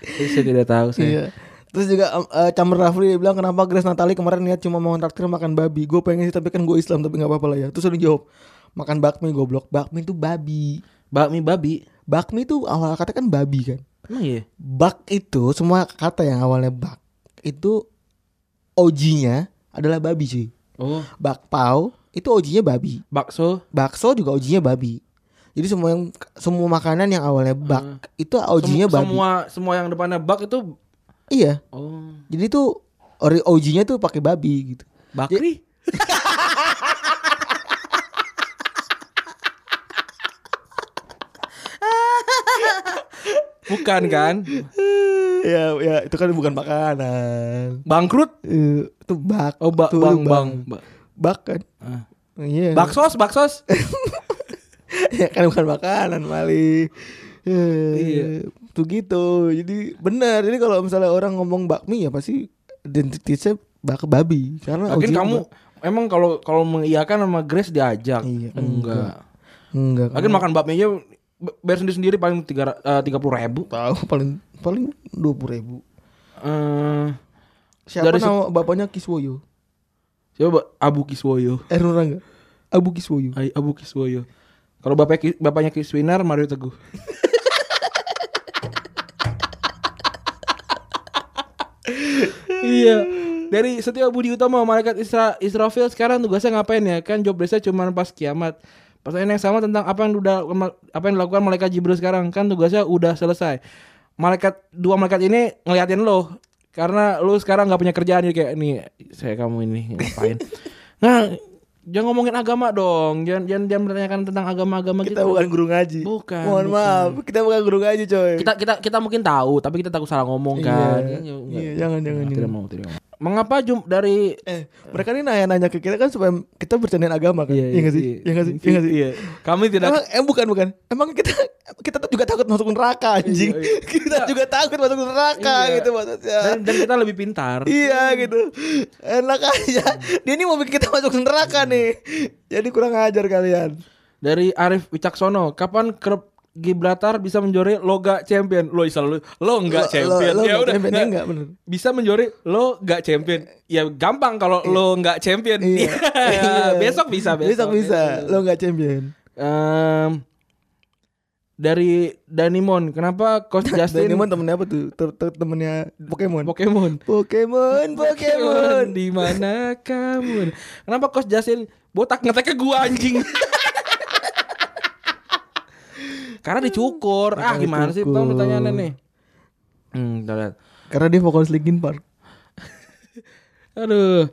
Speaker 3: Jadi saya tidak tahu saya.
Speaker 4: [laughs] Iya. Terus juga um, eh, Chamber Rafli dia bilang kenapa Grace Natali kemarin niat cuma mau traktir makan babi. Gue pengen sih tapi kan gue Islam tapi nggak apa-apa lah ya. Terus ada yang jawab makan bakmi goblok. Bakmi itu babi.
Speaker 3: Bakmi babi.
Speaker 4: Bakmi itu awal kata kan babi kan.
Speaker 3: Emang iya?
Speaker 4: Bak itu semua kata yang awalnya bak itu OG-nya adalah babi cuy.
Speaker 3: Oh,
Speaker 4: bakpao itu ojinya babi
Speaker 3: bakso.
Speaker 4: bakso juga ojinya babi jadi semua yang semua makanan yang awalnya
Speaker 3: Hmm.
Speaker 4: bak itu ojinya
Speaker 3: Sem-
Speaker 4: babi
Speaker 3: Semua semua yang depannya bak itu
Speaker 4: iya
Speaker 3: oh.
Speaker 4: jadi tuh ori OG-nya tuh pakai babi gitu.
Speaker 3: Bakri? Bukan kan?
Speaker 4: ya ya itu kan bukan makanan.
Speaker 3: Bangkrut?
Speaker 4: Eh, Itu bak.
Speaker 3: Oh, ba-
Speaker 4: itu
Speaker 3: bang, bang,
Speaker 4: lubang. Bak kan. Iya.
Speaker 3: Baksos, baksos.
Speaker 4: [laughs] ya kan bukan makanan Mali iya tuh gitu jadi benar jadi kalau misalnya orang ngomong bakmi ya pasti identitasnya bak babi karena
Speaker 3: Lakin
Speaker 4: OG
Speaker 3: kamu
Speaker 4: bak-
Speaker 3: emang kalau kalau mengiyakan sama Grace diajak.
Speaker 4: Iya,
Speaker 3: enggak.
Speaker 4: enggak
Speaker 3: Lakin makan bakminya b- bayar sendiri-sendiri paling tiga eh, tiga puluh ribu.
Speaker 4: tahu paling paling dua puluh ribu
Speaker 3: Eh,
Speaker 4: siapa
Speaker 3: Dari se-
Speaker 4: nama bapaknya Kiswoyo
Speaker 3: siapa Abu Kiswoyo?
Speaker 4: Erno Rangga Abu Kiswoyo
Speaker 3: Ay, Abu Kiswoyo. Kalau bapak Ki- bapaknya Kiswinar Mario Teguh. iya. Dari Setia Budi Utomo malaikat Isra Israfil sekarang tugasnya ngapain ya? Kan job desknya cuma pas kiamat. Pertanyaan yang sama tentang apa yang udah apa yang dilakukan malaikat Jibril sekarang kan tugasnya udah selesai. Malaikat dua malaikat ini ngeliatin lo karena lo sekarang nggak punya kerjaan jadi kayak nih saya kamu ini ngapain. nah, jangan ngomongin agama dong. Jangan jangan, jangan menanyakan tentang agama-agama
Speaker 4: kita
Speaker 3: gitu.
Speaker 4: bukan guru ngaji
Speaker 3: Bukan,
Speaker 4: mohon
Speaker 3: bukan.
Speaker 4: maaf kita bukan guru ngaji coy
Speaker 3: Kita kita kita mungkin tahu tapi kita takut salah ngomong kan.
Speaker 4: Iya.
Speaker 3: Iya, nggak-
Speaker 4: iya jangan jangan,
Speaker 3: tidak
Speaker 4: jangan.
Speaker 3: mau tidak mau. Mengapa jum dari
Speaker 4: Eh, mereka ini nanya-nanya ke kita kan supaya kita bercandain agama kan?
Speaker 3: Iya,
Speaker 4: Iya nggak sih? Iya nggak sih? Iya nggak sih?
Speaker 3: Iya. Kami tidak
Speaker 4: Emang, eh bukan bukan. Emang kita kita tuh juga takut masuk neraka anjing.
Speaker 3: Iya, iya.
Speaker 4: [laughs] kita juga takut masuk neraka
Speaker 3: Iya.
Speaker 4: gitu maksudnya.
Speaker 3: dan, dan kita lebih pintar.
Speaker 4: iya gitu. Enak aja. Dia ini mau bikin kita masuk neraka
Speaker 3: Hmm.
Speaker 4: nih. Jadi kurang ajar kalian.
Speaker 3: Dari Arif Wicaksono, kapan klub Gibraltar bisa menjori loga champion? Lo selalu lo enggak champion.
Speaker 4: Lo, lo,
Speaker 3: ya udah.
Speaker 4: champion,
Speaker 3: nggak.
Speaker 4: enggak bener.
Speaker 3: Bisa menjori lo enggak champion. Ya gampang kalau lo enggak champion. [laughs]
Speaker 4: Iya. Iya.
Speaker 3: besok bisa besok. Iya.
Speaker 4: Besok bisa. Lo nggak champion.
Speaker 3: Em, dari Danimon, kenapa
Speaker 4: [laughs]
Speaker 3: Coach Justin
Speaker 4: Danimon temennya apa tuh? Ter- ter- temennya Pokemon.
Speaker 3: Pokemon?
Speaker 4: Pokemon,
Speaker 3: [laughs]
Speaker 4: Pokemon.
Speaker 3: di mana kamu? Kenapa Coach Justin botak ngetek ke gua anjing? Karena dicukur. Ah gimana sih tau pertanyaannya nih? Hmm, kita lihat.
Speaker 4: Karena dia vokalis Linkin Park.
Speaker 3: Aduh.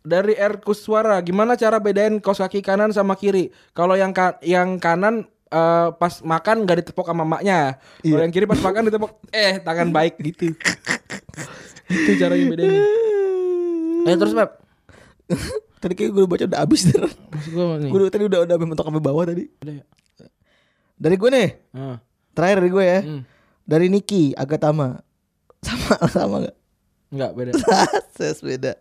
Speaker 3: Dari Erkus suara, gimana cara bedain kos kaki kanan sama kiri? Kalau yang ka- yang kanan eh, pas makan gak ditepok sama maknya. Kalau yang kiri pas makan ditepok eh tangan baik gitu. Itu caranya bedainnya. Eh terus Pep,
Speaker 4: Tadi kayak gue baca udah habis. [laughs] gue
Speaker 3: maksud gua nih. ya?
Speaker 4: udah- tadi udah udah mentok sampai bawah tadi. Dari gue nih.
Speaker 3: Ah.
Speaker 4: Terakhir dari gue ya.
Speaker 3: Hmm.
Speaker 4: Dari Niki Agatama. [laughs] Sama sama [laughs] enggak?
Speaker 3: Enggak beda.
Speaker 4: Ses beda.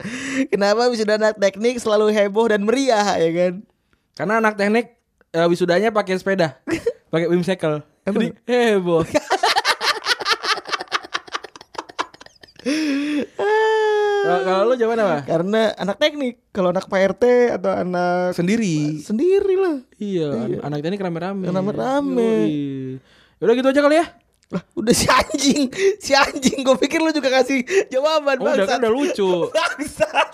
Speaker 4: Kenapa wisuda anak teknik selalu heboh dan meriah ya kan?
Speaker 3: [laughs] Karena anak teknik eh, wisudanya pakai [laughs] sepeda. pakai whimsical. Jadi eh, heboh. Kalau- Kalau lu jawaban apa?
Speaker 4: Ah, Karena anak teknik, kalau anak PRT atau anak
Speaker 3: Sendiri.
Speaker 4: sendiri lah.
Speaker 3: Iya, an- anak teknik rame-rame.
Speaker 4: Rame-rame.
Speaker 3: Yoi. Yaudah gitu aja kali ya.
Speaker 4: Lah, udah si anjing, si anjing. Gue pikir lu juga kasih jawaban
Speaker 3: Oh, udah
Speaker 4: bangsat.
Speaker 3: kan udah lucu.
Speaker 4: [laughs] Bangsat.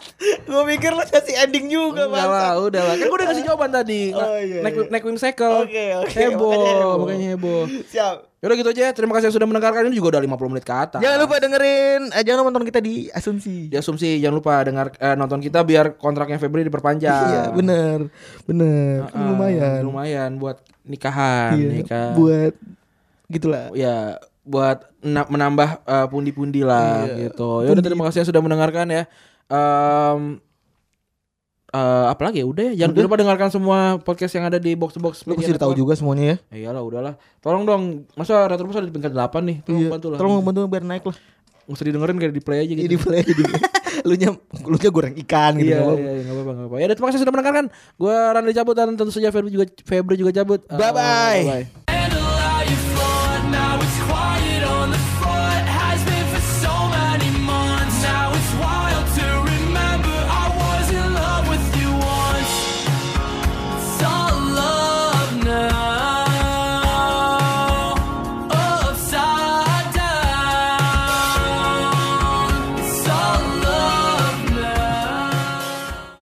Speaker 4: Gue pikir lu kasih ending juga
Speaker 3: Enggak lah,
Speaker 4: bangsat.
Speaker 3: udah lah. Kan gue udah kasih jawaban tadi. Nah,
Speaker 4: Oh, iya,
Speaker 3: naik
Speaker 4: iya.
Speaker 3: naik whimsical.
Speaker 4: Oke, oke, makanya heboh.
Speaker 3: Heboh, makanya heboh.
Speaker 4: Siap.
Speaker 3: Yaudah gitu aja. Terima kasih yang sudah mendengarkan. Ini juga udah 50 menit ke atas.
Speaker 4: Jangan lupa dengerin, eh, jangan nonton kita di Asumsi.
Speaker 3: di asumsi jangan lupa dengar eh, nonton kita biar kontraknya Febri
Speaker 4: Iya,
Speaker 3: diperpanjang.
Speaker 4: bener, bener. Kan
Speaker 3: Ah,
Speaker 4: lumayan.
Speaker 3: Lumayan buat nikahan,
Speaker 4: Iya,
Speaker 3: nikah.
Speaker 4: buat gitulah.
Speaker 3: ya buat na- menambah eh, pundi-pundi lah
Speaker 4: Iya,
Speaker 3: gitu. Ya udah terima kasih yang sudah mendengarkan ya. Em eh, apalagi ya udah ya jangan lupa dengarkan semua podcast yang ada di box to box.
Speaker 4: Lu pasti udah tahu juga semuanya ya.
Speaker 3: Iyalah udahlah. Tolong dong, masa Retropus ada di peringkat 8 nih. Tolong bantu lah.
Speaker 4: Iya. Tolong bantu biar naik lah.
Speaker 3: Nggak usah didengerin kayak di play aja gitu.
Speaker 4: Ini boleh jadi. [laughs] lu nya lu nya goreng ikan gitu.
Speaker 3: Iya,
Speaker 4: nggak apa-apa.
Speaker 3: iya, iya, nggak apa-apa, nggak apa-apa. Ya, udah, terima kasih sudah mendengarkan. Gue Randy cabut dan tentu saja Febri juga Febri juga cabut. Eh,
Speaker 4: Bye-bye.
Speaker 3: bye-bye.